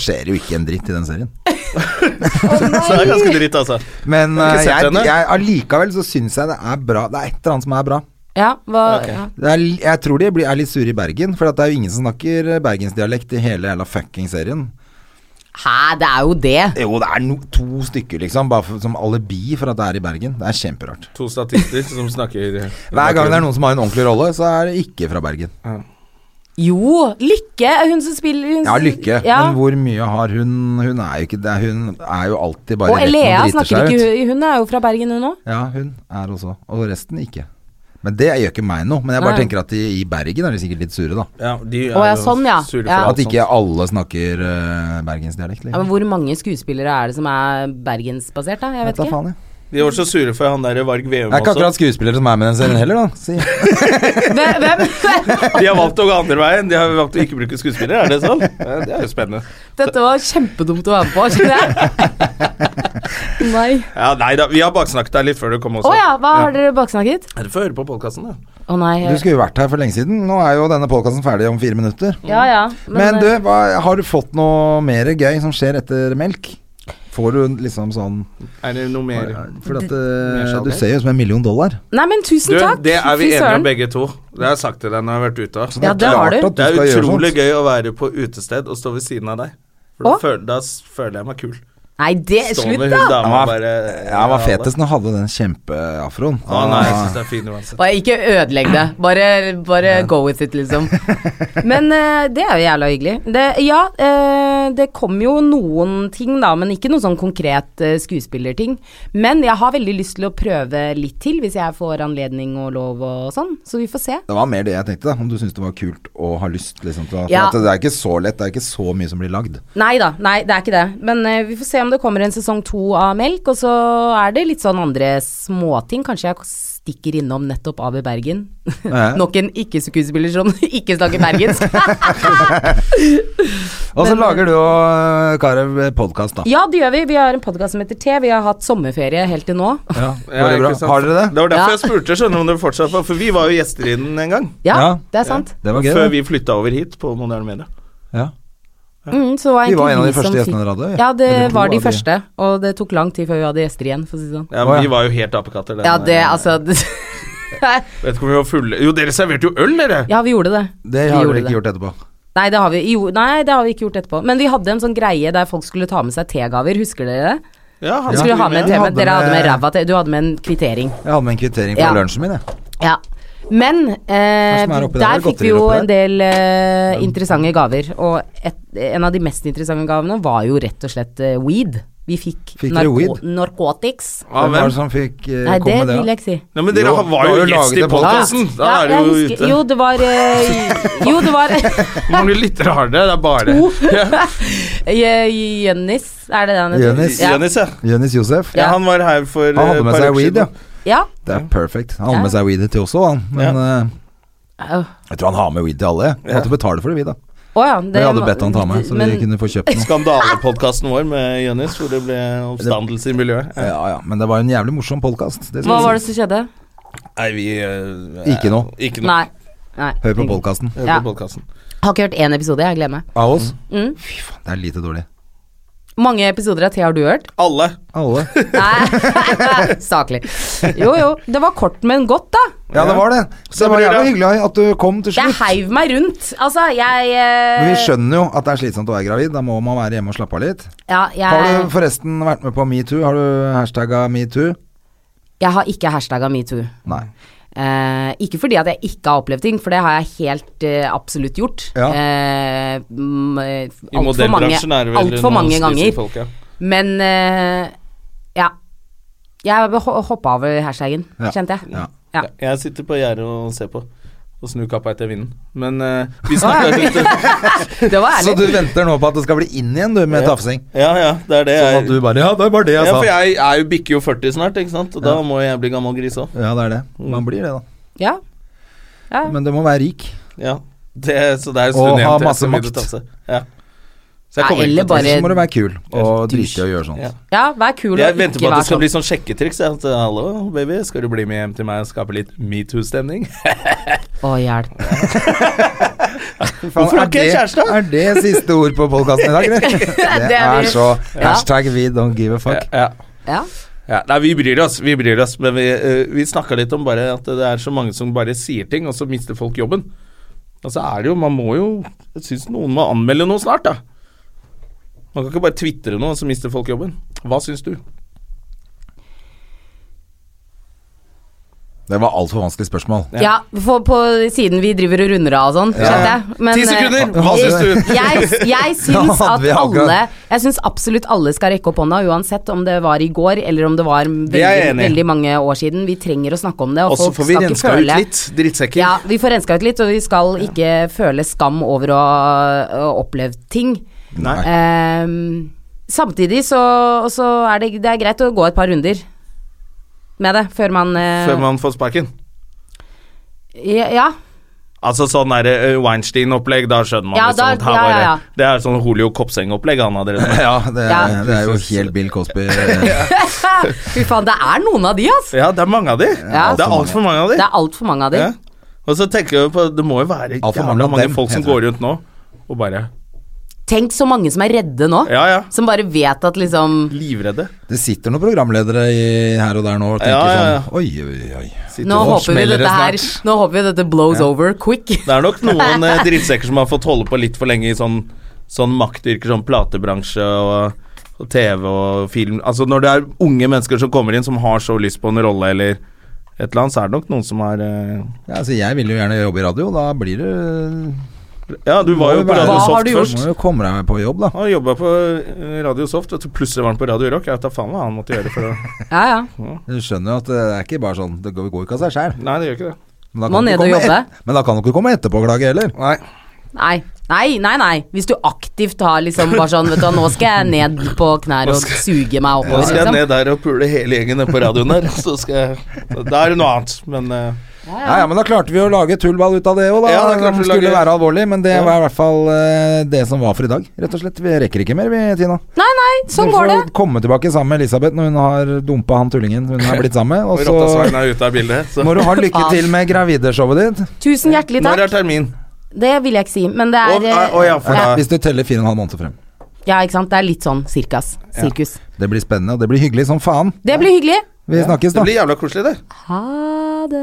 Speaker 1: skjer jo ikke en dritt i den serien.
Speaker 2: Så det er ganske dritt, altså.
Speaker 1: Men
Speaker 2: Har ikke
Speaker 1: eh,
Speaker 2: sett
Speaker 1: jeg,
Speaker 2: henne?
Speaker 1: jeg, allikevel så syns jeg det er bra. Det er et eller annet som er bra.
Speaker 3: Ja, hva,
Speaker 2: Ok.
Speaker 3: ja.
Speaker 1: Det er, li- jeg tror de blir, er litt sure i Bergen, for at det er jo ingen som snakker eh, bergensdialekt i hele jævla fucking serien.
Speaker 3: Hæ, det er jo det.
Speaker 1: Jo, det er no, to stykker, liksom, bare for, som alibi for at det er i Bergen. Det er kjemperart.
Speaker 2: To statister som snakker
Speaker 1: Hver gang det er noen som har en ordentlig rolle, så er det ikke fra Bergen.
Speaker 3: Jo, Lykke er hun som spiller hun
Speaker 1: Ja,
Speaker 3: som-
Speaker 1: Lykke,
Speaker 3: Ja.
Speaker 1: men hvor mye har hun Hun er jo ikke det, er- Hun er jo alltid bare
Speaker 3: Og
Speaker 1: i retten
Speaker 3: Elea
Speaker 1: driter
Speaker 3: snakker
Speaker 1: seg
Speaker 3: ikke
Speaker 1: ut.
Speaker 3: hun- Hun er jo fra Bergen, hun òg.
Speaker 1: Ja, hun er også. Og resten ikke. Men det gjør ikke meg noe. Men jeg bare
Speaker 3: Nei.
Speaker 1: tenker at i, i Bergen er de sikkert litt sure, da.
Speaker 2: ja, de er
Speaker 3: Å, ja,
Speaker 2: jo
Speaker 3: sånn, ja.
Speaker 2: sure for
Speaker 3: Ja.
Speaker 2: alt
Speaker 1: At ikke
Speaker 2: sånt.
Speaker 1: alle snakker eh, bergensdialekt.
Speaker 3: Ja,
Speaker 1: Liksom.
Speaker 3: men hvor mange skuespillere er det som er bergensbasert, da? Jeg
Speaker 1: Vet
Speaker 3: vet
Speaker 1: da
Speaker 3: ikke.
Speaker 1: faen, jeg.
Speaker 2: De var så sure for han der Varg
Speaker 1: Det er
Speaker 2: Veum
Speaker 1: ikke
Speaker 2: også.
Speaker 1: akkurat skuespillere som er med i den serien heller, da. Si.
Speaker 3: Hvem? hvem?
Speaker 2: De har valgt å gå andre veien. De har valgt å ikke bruke skuespillere, er det sånn? Ja, Det er jo spennende.
Speaker 3: Dette var kjempedumt å være med på, skjønner jeg. Nei.
Speaker 2: Ja, nei da, vi har baksnakket deg litt før du kom
Speaker 3: Å
Speaker 2: også.
Speaker 3: ja, hva har dere baksnakket?
Speaker 2: Er det for å høre på podkasten, da?
Speaker 3: Å nei.
Speaker 1: Du skulle jo vært her for lenge siden. Nå er jo denne podkasten ferdig om fire minutter.
Speaker 3: Ja ja.
Speaker 1: Men du,
Speaker 3: eh,
Speaker 1: hva, har du fått noe mer gøy som skjer etter melk? Får du liksom sånn
Speaker 2: Er det noe mer
Speaker 1: For at,
Speaker 2: Mer
Speaker 1: eh,
Speaker 2: salg,
Speaker 1: du
Speaker 2: eller?
Speaker 1: ser jo ut som en million dollar.
Speaker 3: eh, Nei, men tusen takk.
Speaker 2: det er vi
Speaker 3: Fy
Speaker 2: enige
Speaker 3: søren.
Speaker 2: om begge to. Det har jeg sagt til deg når jeg har vært ute.
Speaker 1: Så
Speaker 3: Ja, det har
Speaker 1: klart
Speaker 3: du.
Speaker 1: at
Speaker 2: Det er
Speaker 1: skal gjøre
Speaker 2: utrolig
Speaker 1: sånt.
Speaker 2: gøy å være på utested og stå ved siden av deg. For da,
Speaker 3: Å?
Speaker 2: føler, da s- føler jeg meg kul.
Speaker 3: Nei, det
Speaker 2: Stå
Speaker 3: Slutt,
Speaker 2: med
Speaker 3: da.
Speaker 2: hun dama
Speaker 1: Han
Speaker 2: og
Speaker 1: var,
Speaker 2: bare
Speaker 1: ja, han var fetest når han hadde den kjempeafroen.
Speaker 2: Å nei, jeg
Speaker 1: Ah.
Speaker 2: syns det er fin uansett.
Speaker 3: Bare ikke ødelegg det. Bare, bare go with it, liksom. Men eh, det er jo jævla hyggelig. Det, ja, eh, det kom jo noen ting, da, men ikke noe sånn konkret eh, skuespillerting. Men jeg har veldig lyst til å prøve litt til, hvis jeg får anledning og lov og sånn. Så vi får se.
Speaker 1: Det var mer det jeg tenkte, da. om du syns det var kult og har lyst. Liksom, til å, for
Speaker 3: Ja.
Speaker 1: at det er ikke så lett, det er ikke så mye som blir lagd.
Speaker 3: Nei da, nei, det er ikke det. Men eh, vi får se om det kommer en sesong to av Melk. Og så er det litt sånn andre småting. Kanskje jeg stikker innom nettopp AB Bergen.
Speaker 1: Ja.
Speaker 3: Nok en ikke-skuespiller som ikke snakker bergensk.
Speaker 1: Og så lager du og øh, Karev podkast, da.
Speaker 3: ja, det gjør vi. Vi har en podkast som heter T. Vi har hatt sommerferie helt til nå.
Speaker 1: Ja,
Speaker 2: Ja,
Speaker 1: var det
Speaker 2: ikke
Speaker 1: bra?
Speaker 2: sant?
Speaker 1: Har dere det?
Speaker 2: Det var derfor
Speaker 3: Ja.
Speaker 2: jeg spurte, skjønner du, om dere fortsatt var For vi var jo gjester i den en gang.
Speaker 3: Ja,
Speaker 1: Ja.
Speaker 3: det er sant.
Speaker 1: Det var gøy.
Speaker 2: Før
Speaker 1: det.
Speaker 2: vi flytta over hit på Moderne Media.
Speaker 1: Ja.
Speaker 3: Mm, så var
Speaker 1: Vi var
Speaker 3: egentlig
Speaker 1: en av de
Speaker 3: som
Speaker 1: første
Speaker 3: fikk-
Speaker 1: gjestene dere hadde.
Speaker 3: Ja, det
Speaker 1: Eller to
Speaker 3: var de
Speaker 1: av
Speaker 3: første. Og det tok lang tid før vi hadde gjester igjen, for å si det sånn.
Speaker 2: Ja,
Speaker 1: Å, ja.
Speaker 2: Vi var jo helt apekatter. den,
Speaker 3: Ja, det
Speaker 2: eh,
Speaker 3: altså
Speaker 2: Vet ikke om vi var fulle Jo, dere serverte jo øl, dere!
Speaker 3: Ja, vi gjorde det.
Speaker 1: Det
Speaker 3: Vi
Speaker 1: har
Speaker 3: gjorde
Speaker 1: dere ikke gjort etterpå.
Speaker 3: Nei det, har vi, jo, nei, det har vi ikke gjort etterpå. Men vi hadde en sånn greie der folk skulle ta med seg tegaver, husker dere det?
Speaker 2: Ja, han
Speaker 3: Skulle
Speaker 2: skulle
Speaker 3: ha med
Speaker 1: Jeg
Speaker 3: te,
Speaker 1: hadde
Speaker 3: men dere hadde
Speaker 1: med-
Speaker 3: med ræva te. Du hadde med en kvittering.
Speaker 1: Jeg hadde med en kvittering fra
Speaker 3: Ja.
Speaker 1: lunsjen min, jeg.
Speaker 3: Ja. Men eh,
Speaker 1: som er oppi der?
Speaker 3: der fikk
Speaker 1: Godteri
Speaker 3: vi jo
Speaker 1: oppi der?
Speaker 3: en del eh, interessante gaver. Og et, en av de mest interessante gavene var jo rett og slett eh, weed. Vi fikk,
Speaker 1: Fikk dere weed?
Speaker 3: narkotics.
Speaker 2: Ja,
Speaker 1: Hvem var
Speaker 2: hvem?
Speaker 1: det som fikk eh,
Speaker 3: Nei,
Speaker 1: komme
Speaker 3: det
Speaker 1: med det?
Speaker 3: vil
Speaker 1: da?
Speaker 3: jeg ikke si.
Speaker 2: Nei, men dere
Speaker 1: Jo,
Speaker 2: har- var
Speaker 1: da
Speaker 2: jo
Speaker 1: har du
Speaker 2: gjest
Speaker 1: laget
Speaker 2: i
Speaker 1: en podcast.
Speaker 2: podkasten! Da
Speaker 3: Ja,
Speaker 2: er
Speaker 3: jeg
Speaker 2: du jo
Speaker 3: husker-
Speaker 2: ute.
Speaker 3: Jo, det var eh, Jo, det var
Speaker 2: Hvor mange lyttere har dere? Det er bare Ja.
Speaker 3: Je- Jønnis, er det det han heter?
Speaker 1: Jønnis.
Speaker 3: Ja.
Speaker 2: Jønnis, ja.
Speaker 1: Jonis Josef.
Speaker 2: ja. Han var her for
Speaker 1: Han hadde
Speaker 2: eh,
Speaker 1: med
Speaker 2: par
Speaker 1: seg
Speaker 2: uker
Speaker 1: weed, ja.
Speaker 2: siden.
Speaker 3: ja.
Speaker 1: Det er perfect. Han hadde
Speaker 3: Ja.
Speaker 1: med seg weed til også, han. Men eh,
Speaker 3: Au.
Speaker 1: jeg tror han har med weed til alle. jeg. Jeg måtte betale for det, vi, da.
Speaker 3: Å ja. det
Speaker 1: Men jeg hadde
Speaker 3: må-
Speaker 1: bedt han ta med, så
Speaker 3: men-
Speaker 1: vi kunne få kjøpt noe.
Speaker 2: Skandalepodkasten vår med Jønnis, hvor det ble oppstandelse i miljøet. Ja.
Speaker 1: Ja, ja, men det var en jævlig morsom podkast.
Speaker 3: Hva var det som skjedde?
Speaker 2: Nei, vi eh,
Speaker 1: Ikke noe.
Speaker 2: Ikke noe.
Speaker 3: Nei. Nei.
Speaker 1: Hør på podkasten.
Speaker 2: Hør på
Speaker 3: Ja.
Speaker 2: podcasten.
Speaker 3: Har ikke hørt én episode, jeg glemmer.
Speaker 1: Av oss?
Speaker 3: Mm.
Speaker 1: Fy faen, det er lite dårlig.
Speaker 3: Mange episoder av Thea har du hørt?
Speaker 2: Alle.
Speaker 1: Alle.
Speaker 3: Nei, saklig. Jo jo, det var kort, men godt, da.
Speaker 1: Ja, det var det. Så det var
Speaker 2: blir
Speaker 1: jævlig
Speaker 2: det.
Speaker 1: hyggelig at du kom til
Speaker 3: Jeg
Speaker 1: slutt.
Speaker 3: heiv meg rundt. Altså, jeg eh,
Speaker 1: Men vi skjønner jo at det er slitsomt å være gravid. Da må man være hjemme og slappe av litt.
Speaker 3: ja,
Speaker 1: Har du
Speaker 3: jeg,
Speaker 1: forresten vært med på metoo? Har du hashtagga metoo?
Speaker 3: jeg har ikke hashtagga metoo.
Speaker 1: Nei.
Speaker 3: Eh, ikke fordi at jeg ikke har opplevd ting, for det har jeg helt eh, absolutt gjort.
Speaker 1: Ja.
Speaker 3: Eh, mm,
Speaker 2: I
Speaker 3: eh, alt for mange,
Speaker 2: modellbransjen er det vel
Speaker 3: alt for
Speaker 2: noen
Speaker 3: mange
Speaker 2: spisse
Speaker 3: ganger.
Speaker 2: folk, ja.
Speaker 3: Men eh, ja. Jeg hoppa over hashtagen,
Speaker 1: Ja.
Speaker 3: kjente jeg.
Speaker 1: Ja.
Speaker 3: Ja.
Speaker 2: Ja, Jeg sitter på gjerdet og ser på. Og snur kappa etter vinden. Men eh, vi snakker litt
Speaker 3: Det var
Speaker 1: Så du
Speaker 3: ærlig.
Speaker 1: venter nå på at det skal bli inn igjen, du, med tafsing?
Speaker 2: Ja, ja, det er det
Speaker 1: Sånn at du
Speaker 2: jeg
Speaker 1: bare Ja, det var det jeg
Speaker 2: ja,
Speaker 1: sa.
Speaker 2: for jeg er jo bikker jo 40 snart, ikke sant? og da må jeg bli gammel gris òg.
Speaker 1: Ja, det er det. Man blir det, da.
Speaker 3: Ja. ja.
Speaker 1: Men du må være rik.
Speaker 2: Ja. Det, så det
Speaker 1: Og
Speaker 2: er en
Speaker 1: ha
Speaker 2: stund igjen til jeg
Speaker 1: masse
Speaker 2: skal begynne å
Speaker 1: makt.
Speaker 2: tafse. Ja. Så
Speaker 3: Nei,
Speaker 2: jeg kommer
Speaker 3: eller
Speaker 2: ikke til å
Speaker 3: bare-
Speaker 1: Ellers så må du være kul og drite i å gjøre sånt.
Speaker 2: Ja.
Speaker 3: ja, vær kul og
Speaker 2: Jeg venter på
Speaker 3: ikke
Speaker 2: at det
Speaker 3: vær
Speaker 2: skal
Speaker 3: sånn.
Speaker 2: bli sånn sjekketriks. jeg, At, Hallo, baby, skal du bli med hjem til meg og skape litt metoo-stemning?
Speaker 3: sånn, Å, hjelp.
Speaker 1: Fy faen,
Speaker 2: Hvorfor har
Speaker 1: er
Speaker 2: ikke jeg
Speaker 1: det-
Speaker 2: kjæreste?
Speaker 1: Er det siste ord på podkasten i dag, eller?
Speaker 3: Det
Speaker 1: Det
Speaker 3: er
Speaker 1: er
Speaker 3: vi.
Speaker 1: så
Speaker 3: Ja.
Speaker 1: Hashtag we don't give a fuck.
Speaker 2: Ja, ja.
Speaker 3: Ja.
Speaker 2: Ja, nei, vi bryr oss, vi bryr oss, men vi, uh, vi snakka litt om bare at det er så mange som bare sier ting, og så mister folk jobben. Og så er det jo, man må jo Jeg syns noen må anmelde noe snart, da. Man kan ikke bare tvitre noe, og så mister folk jobben. Hva syns du?
Speaker 1: Det var altfor vanskelig spørsmål.
Speaker 3: ja, for på siden vi driver og runder av og sånn, skjønte jeg. Men,
Speaker 2: Ti sekunder! Hva
Speaker 1: eh,
Speaker 2: syns du?
Speaker 3: jeg, jeg
Speaker 1: Da
Speaker 3: syns
Speaker 1: hadde
Speaker 3: at
Speaker 1: vi akkurat-
Speaker 3: alle Jeg syns absolutt alle skal rekke opp hånda, uansett om det var i går eller om det var
Speaker 2: Det er jeg
Speaker 3: veldig,
Speaker 2: enig i.
Speaker 3: veldig mange år siden. Vi trenger å snakke om det, og
Speaker 2: Og så
Speaker 3: folk
Speaker 2: får vi
Speaker 3: skal ikke
Speaker 2: renska ut
Speaker 3: føle
Speaker 2: litt drittsekker.
Speaker 3: Ja, vi får renska ut litt, og vi skal ikke føle skam over å ha opplevd ting.
Speaker 1: Nei.
Speaker 3: Ehm, samtidig så, så er det, det er greit å gå et par runder med det før man, eh,
Speaker 2: Før man får sparken.
Speaker 3: Ja, ja.
Speaker 2: Altså sånn der, eh, Weinstein-opplegg, da skjønner man
Speaker 3: Ja,
Speaker 2: liksom
Speaker 3: da-
Speaker 2: at her
Speaker 3: ja,
Speaker 2: var
Speaker 3: ja,
Speaker 2: det-
Speaker 3: ja.
Speaker 2: Det er sånn Holio Kopseng-opplegg han hadde. rett og slett.
Speaker 1: Ja, det, er-
Speaker 3: Ja.
Speaker 1: det er jo helt Bill Cosby. Eh,
Speaker 3: Fy faen, det er noen av de, altså.
Speaker 2: Ja, det er mange av de.
Speaker 3: Ja.
Speaker 2: Det er altfor mange av de.
Speaker 3: Det er altfor mange av de.
Speaker 2: Ja. Og så tenker jeg på Det må jo være
Speaker 1: Alt for
Speaker 2: jævla
Speaker 1: mange av
Speaker 2: mange
Speaker 1: dem,
Speaker 2: folk som
Speaker 1: heter
Speaker 2: går rundt nå og bare
Speaker 3: Tenk så mange som er redde nå.
Speaker 2: Ja, ja.
Speaker 3: Som bare vet at liksom
Speaker 2: Livredde.
Speaker 1: Det sitter noen programledere i, her og der nå og tenker
Speaker 2: Ja, ja, ja.
Speaker 1: sånn Oi, oi, oi.
Speaker 2: Sitter
Speaker 3: Nå
Speaker 2: og-
Speaker 3: håper vi
Speaker 1: smeller det
Speaker 3: dette her
Speaker 1: snart.
Speaker 3: Nå håper vi dette blows over quick.
Speaker 2: Det er nok noen eh, drittsekker som har fått holde på litt for lenge i sånn, sånn maktyrker som platebransje og, og TV og film Altså når det er unge mennesker som kommer inn som har så lyst på en rolle eller et eller annet, så er det nok noen som har eh,
Speaker 1: Ja, altså, jeg vil jo gjerne jobbe i radio, da blir det
Speaker 2: Ja, du var jo på
Speaker 1: Hva
Speaker 2: Radio
Speaker 3: har
Speaker 2: Soft
Speaker 3: du gjort?
Speaker 2: først.
Speaker 1: Må jo komme deg på jobb, da.
Speaker 2: Han jobba på eh, Radio Soft, og så plutselig var han på Radio Rock. Jeg vet da faen hva han måtte gjøre for å
Speaker 3: Ja, ja.
Speaker 1: Du skjønner jo at det er ikke bare sånn Det går går ikke av seg sjæl.
Speaker 2: Nei, det gjør ikke det.
Speaker 1: Men, da
Speaker 3: Må
Speaker 1: kan du
Speaker 3: ned
Speaker 1: ikke
Speaker 3: og
Speaker 1: komme
Speaker 3: jobbe.
Speaker 1: et- men da kan du ikke komme etterpå og klage heller.
Speaker 2: Nei.
Speaker 3: Nei. Nei, nei, nei. Hvis du aktivt har liksom bare sånn Vet du hva, nå skal jeg ned på knær og suge meg
Speaker 2: Nå
Speaker 3: oppover,
Speaker 2: skal jeg
Speaker 3: liksom.
Speaker 2: ned der og pule hele gjengen ned på radioen der. Så skal jeg Da er det noe annet, men eh,
Speaker 1: Ja, ja, men da klarte vi å lage tullball ut av det òg, da.
Speaker 2: Ja, da klarte
Speaker 1: det
Speaker 2: vi å
Speaker 1: skulle
Speaker 2: lage-
Speaker 1: være alvorlig, men det var i hvert fall eh, det som var for i dag, rett og slett. Vi rekker ikke mer, vi, Tina.
Speaker 3: Nei, nei, sånn
Speaker 1: vi
Speaker 3: går det.
Speaker 1: får komme tilbake sammen med Elisabeth når hun har dumpa han tullingen hun er blitt sammen med. Og
Speaker 2: Rottasveien
Speaker 1: så
Speaker 2: er ute av bildet. Så.
Speaker 1: må du ha lykke til med gravideshowet ditt.
Speaker 3: Tusen hjertelig
Speaker 2: Når er
Speaker 3: takk.
Speaker 2: termin?
Speaker 3: Det vil jeg ikke si, men det
Speaker 2: Å
Speaker 3: er eh,
Speaker 2: å, ja, for
Speaker 3: ja.
Speaker 2: da
Speaker 1: Hvis du teller fire og en halv måned frem.
Speaker 3: Ja, ikke sant. Det er litt sånn sirkas. Sirkus.
Speaker 1: Det blir spennende, og det blir hyggelig som faen.
Speaker 3: Det blir hyggelig.
Speaker 1: Vi snakkes,
Speaker 2: Det
Speaker 1: da.
Speaker 2: blir jævla koselig, det.
Speaker 3: Ha det.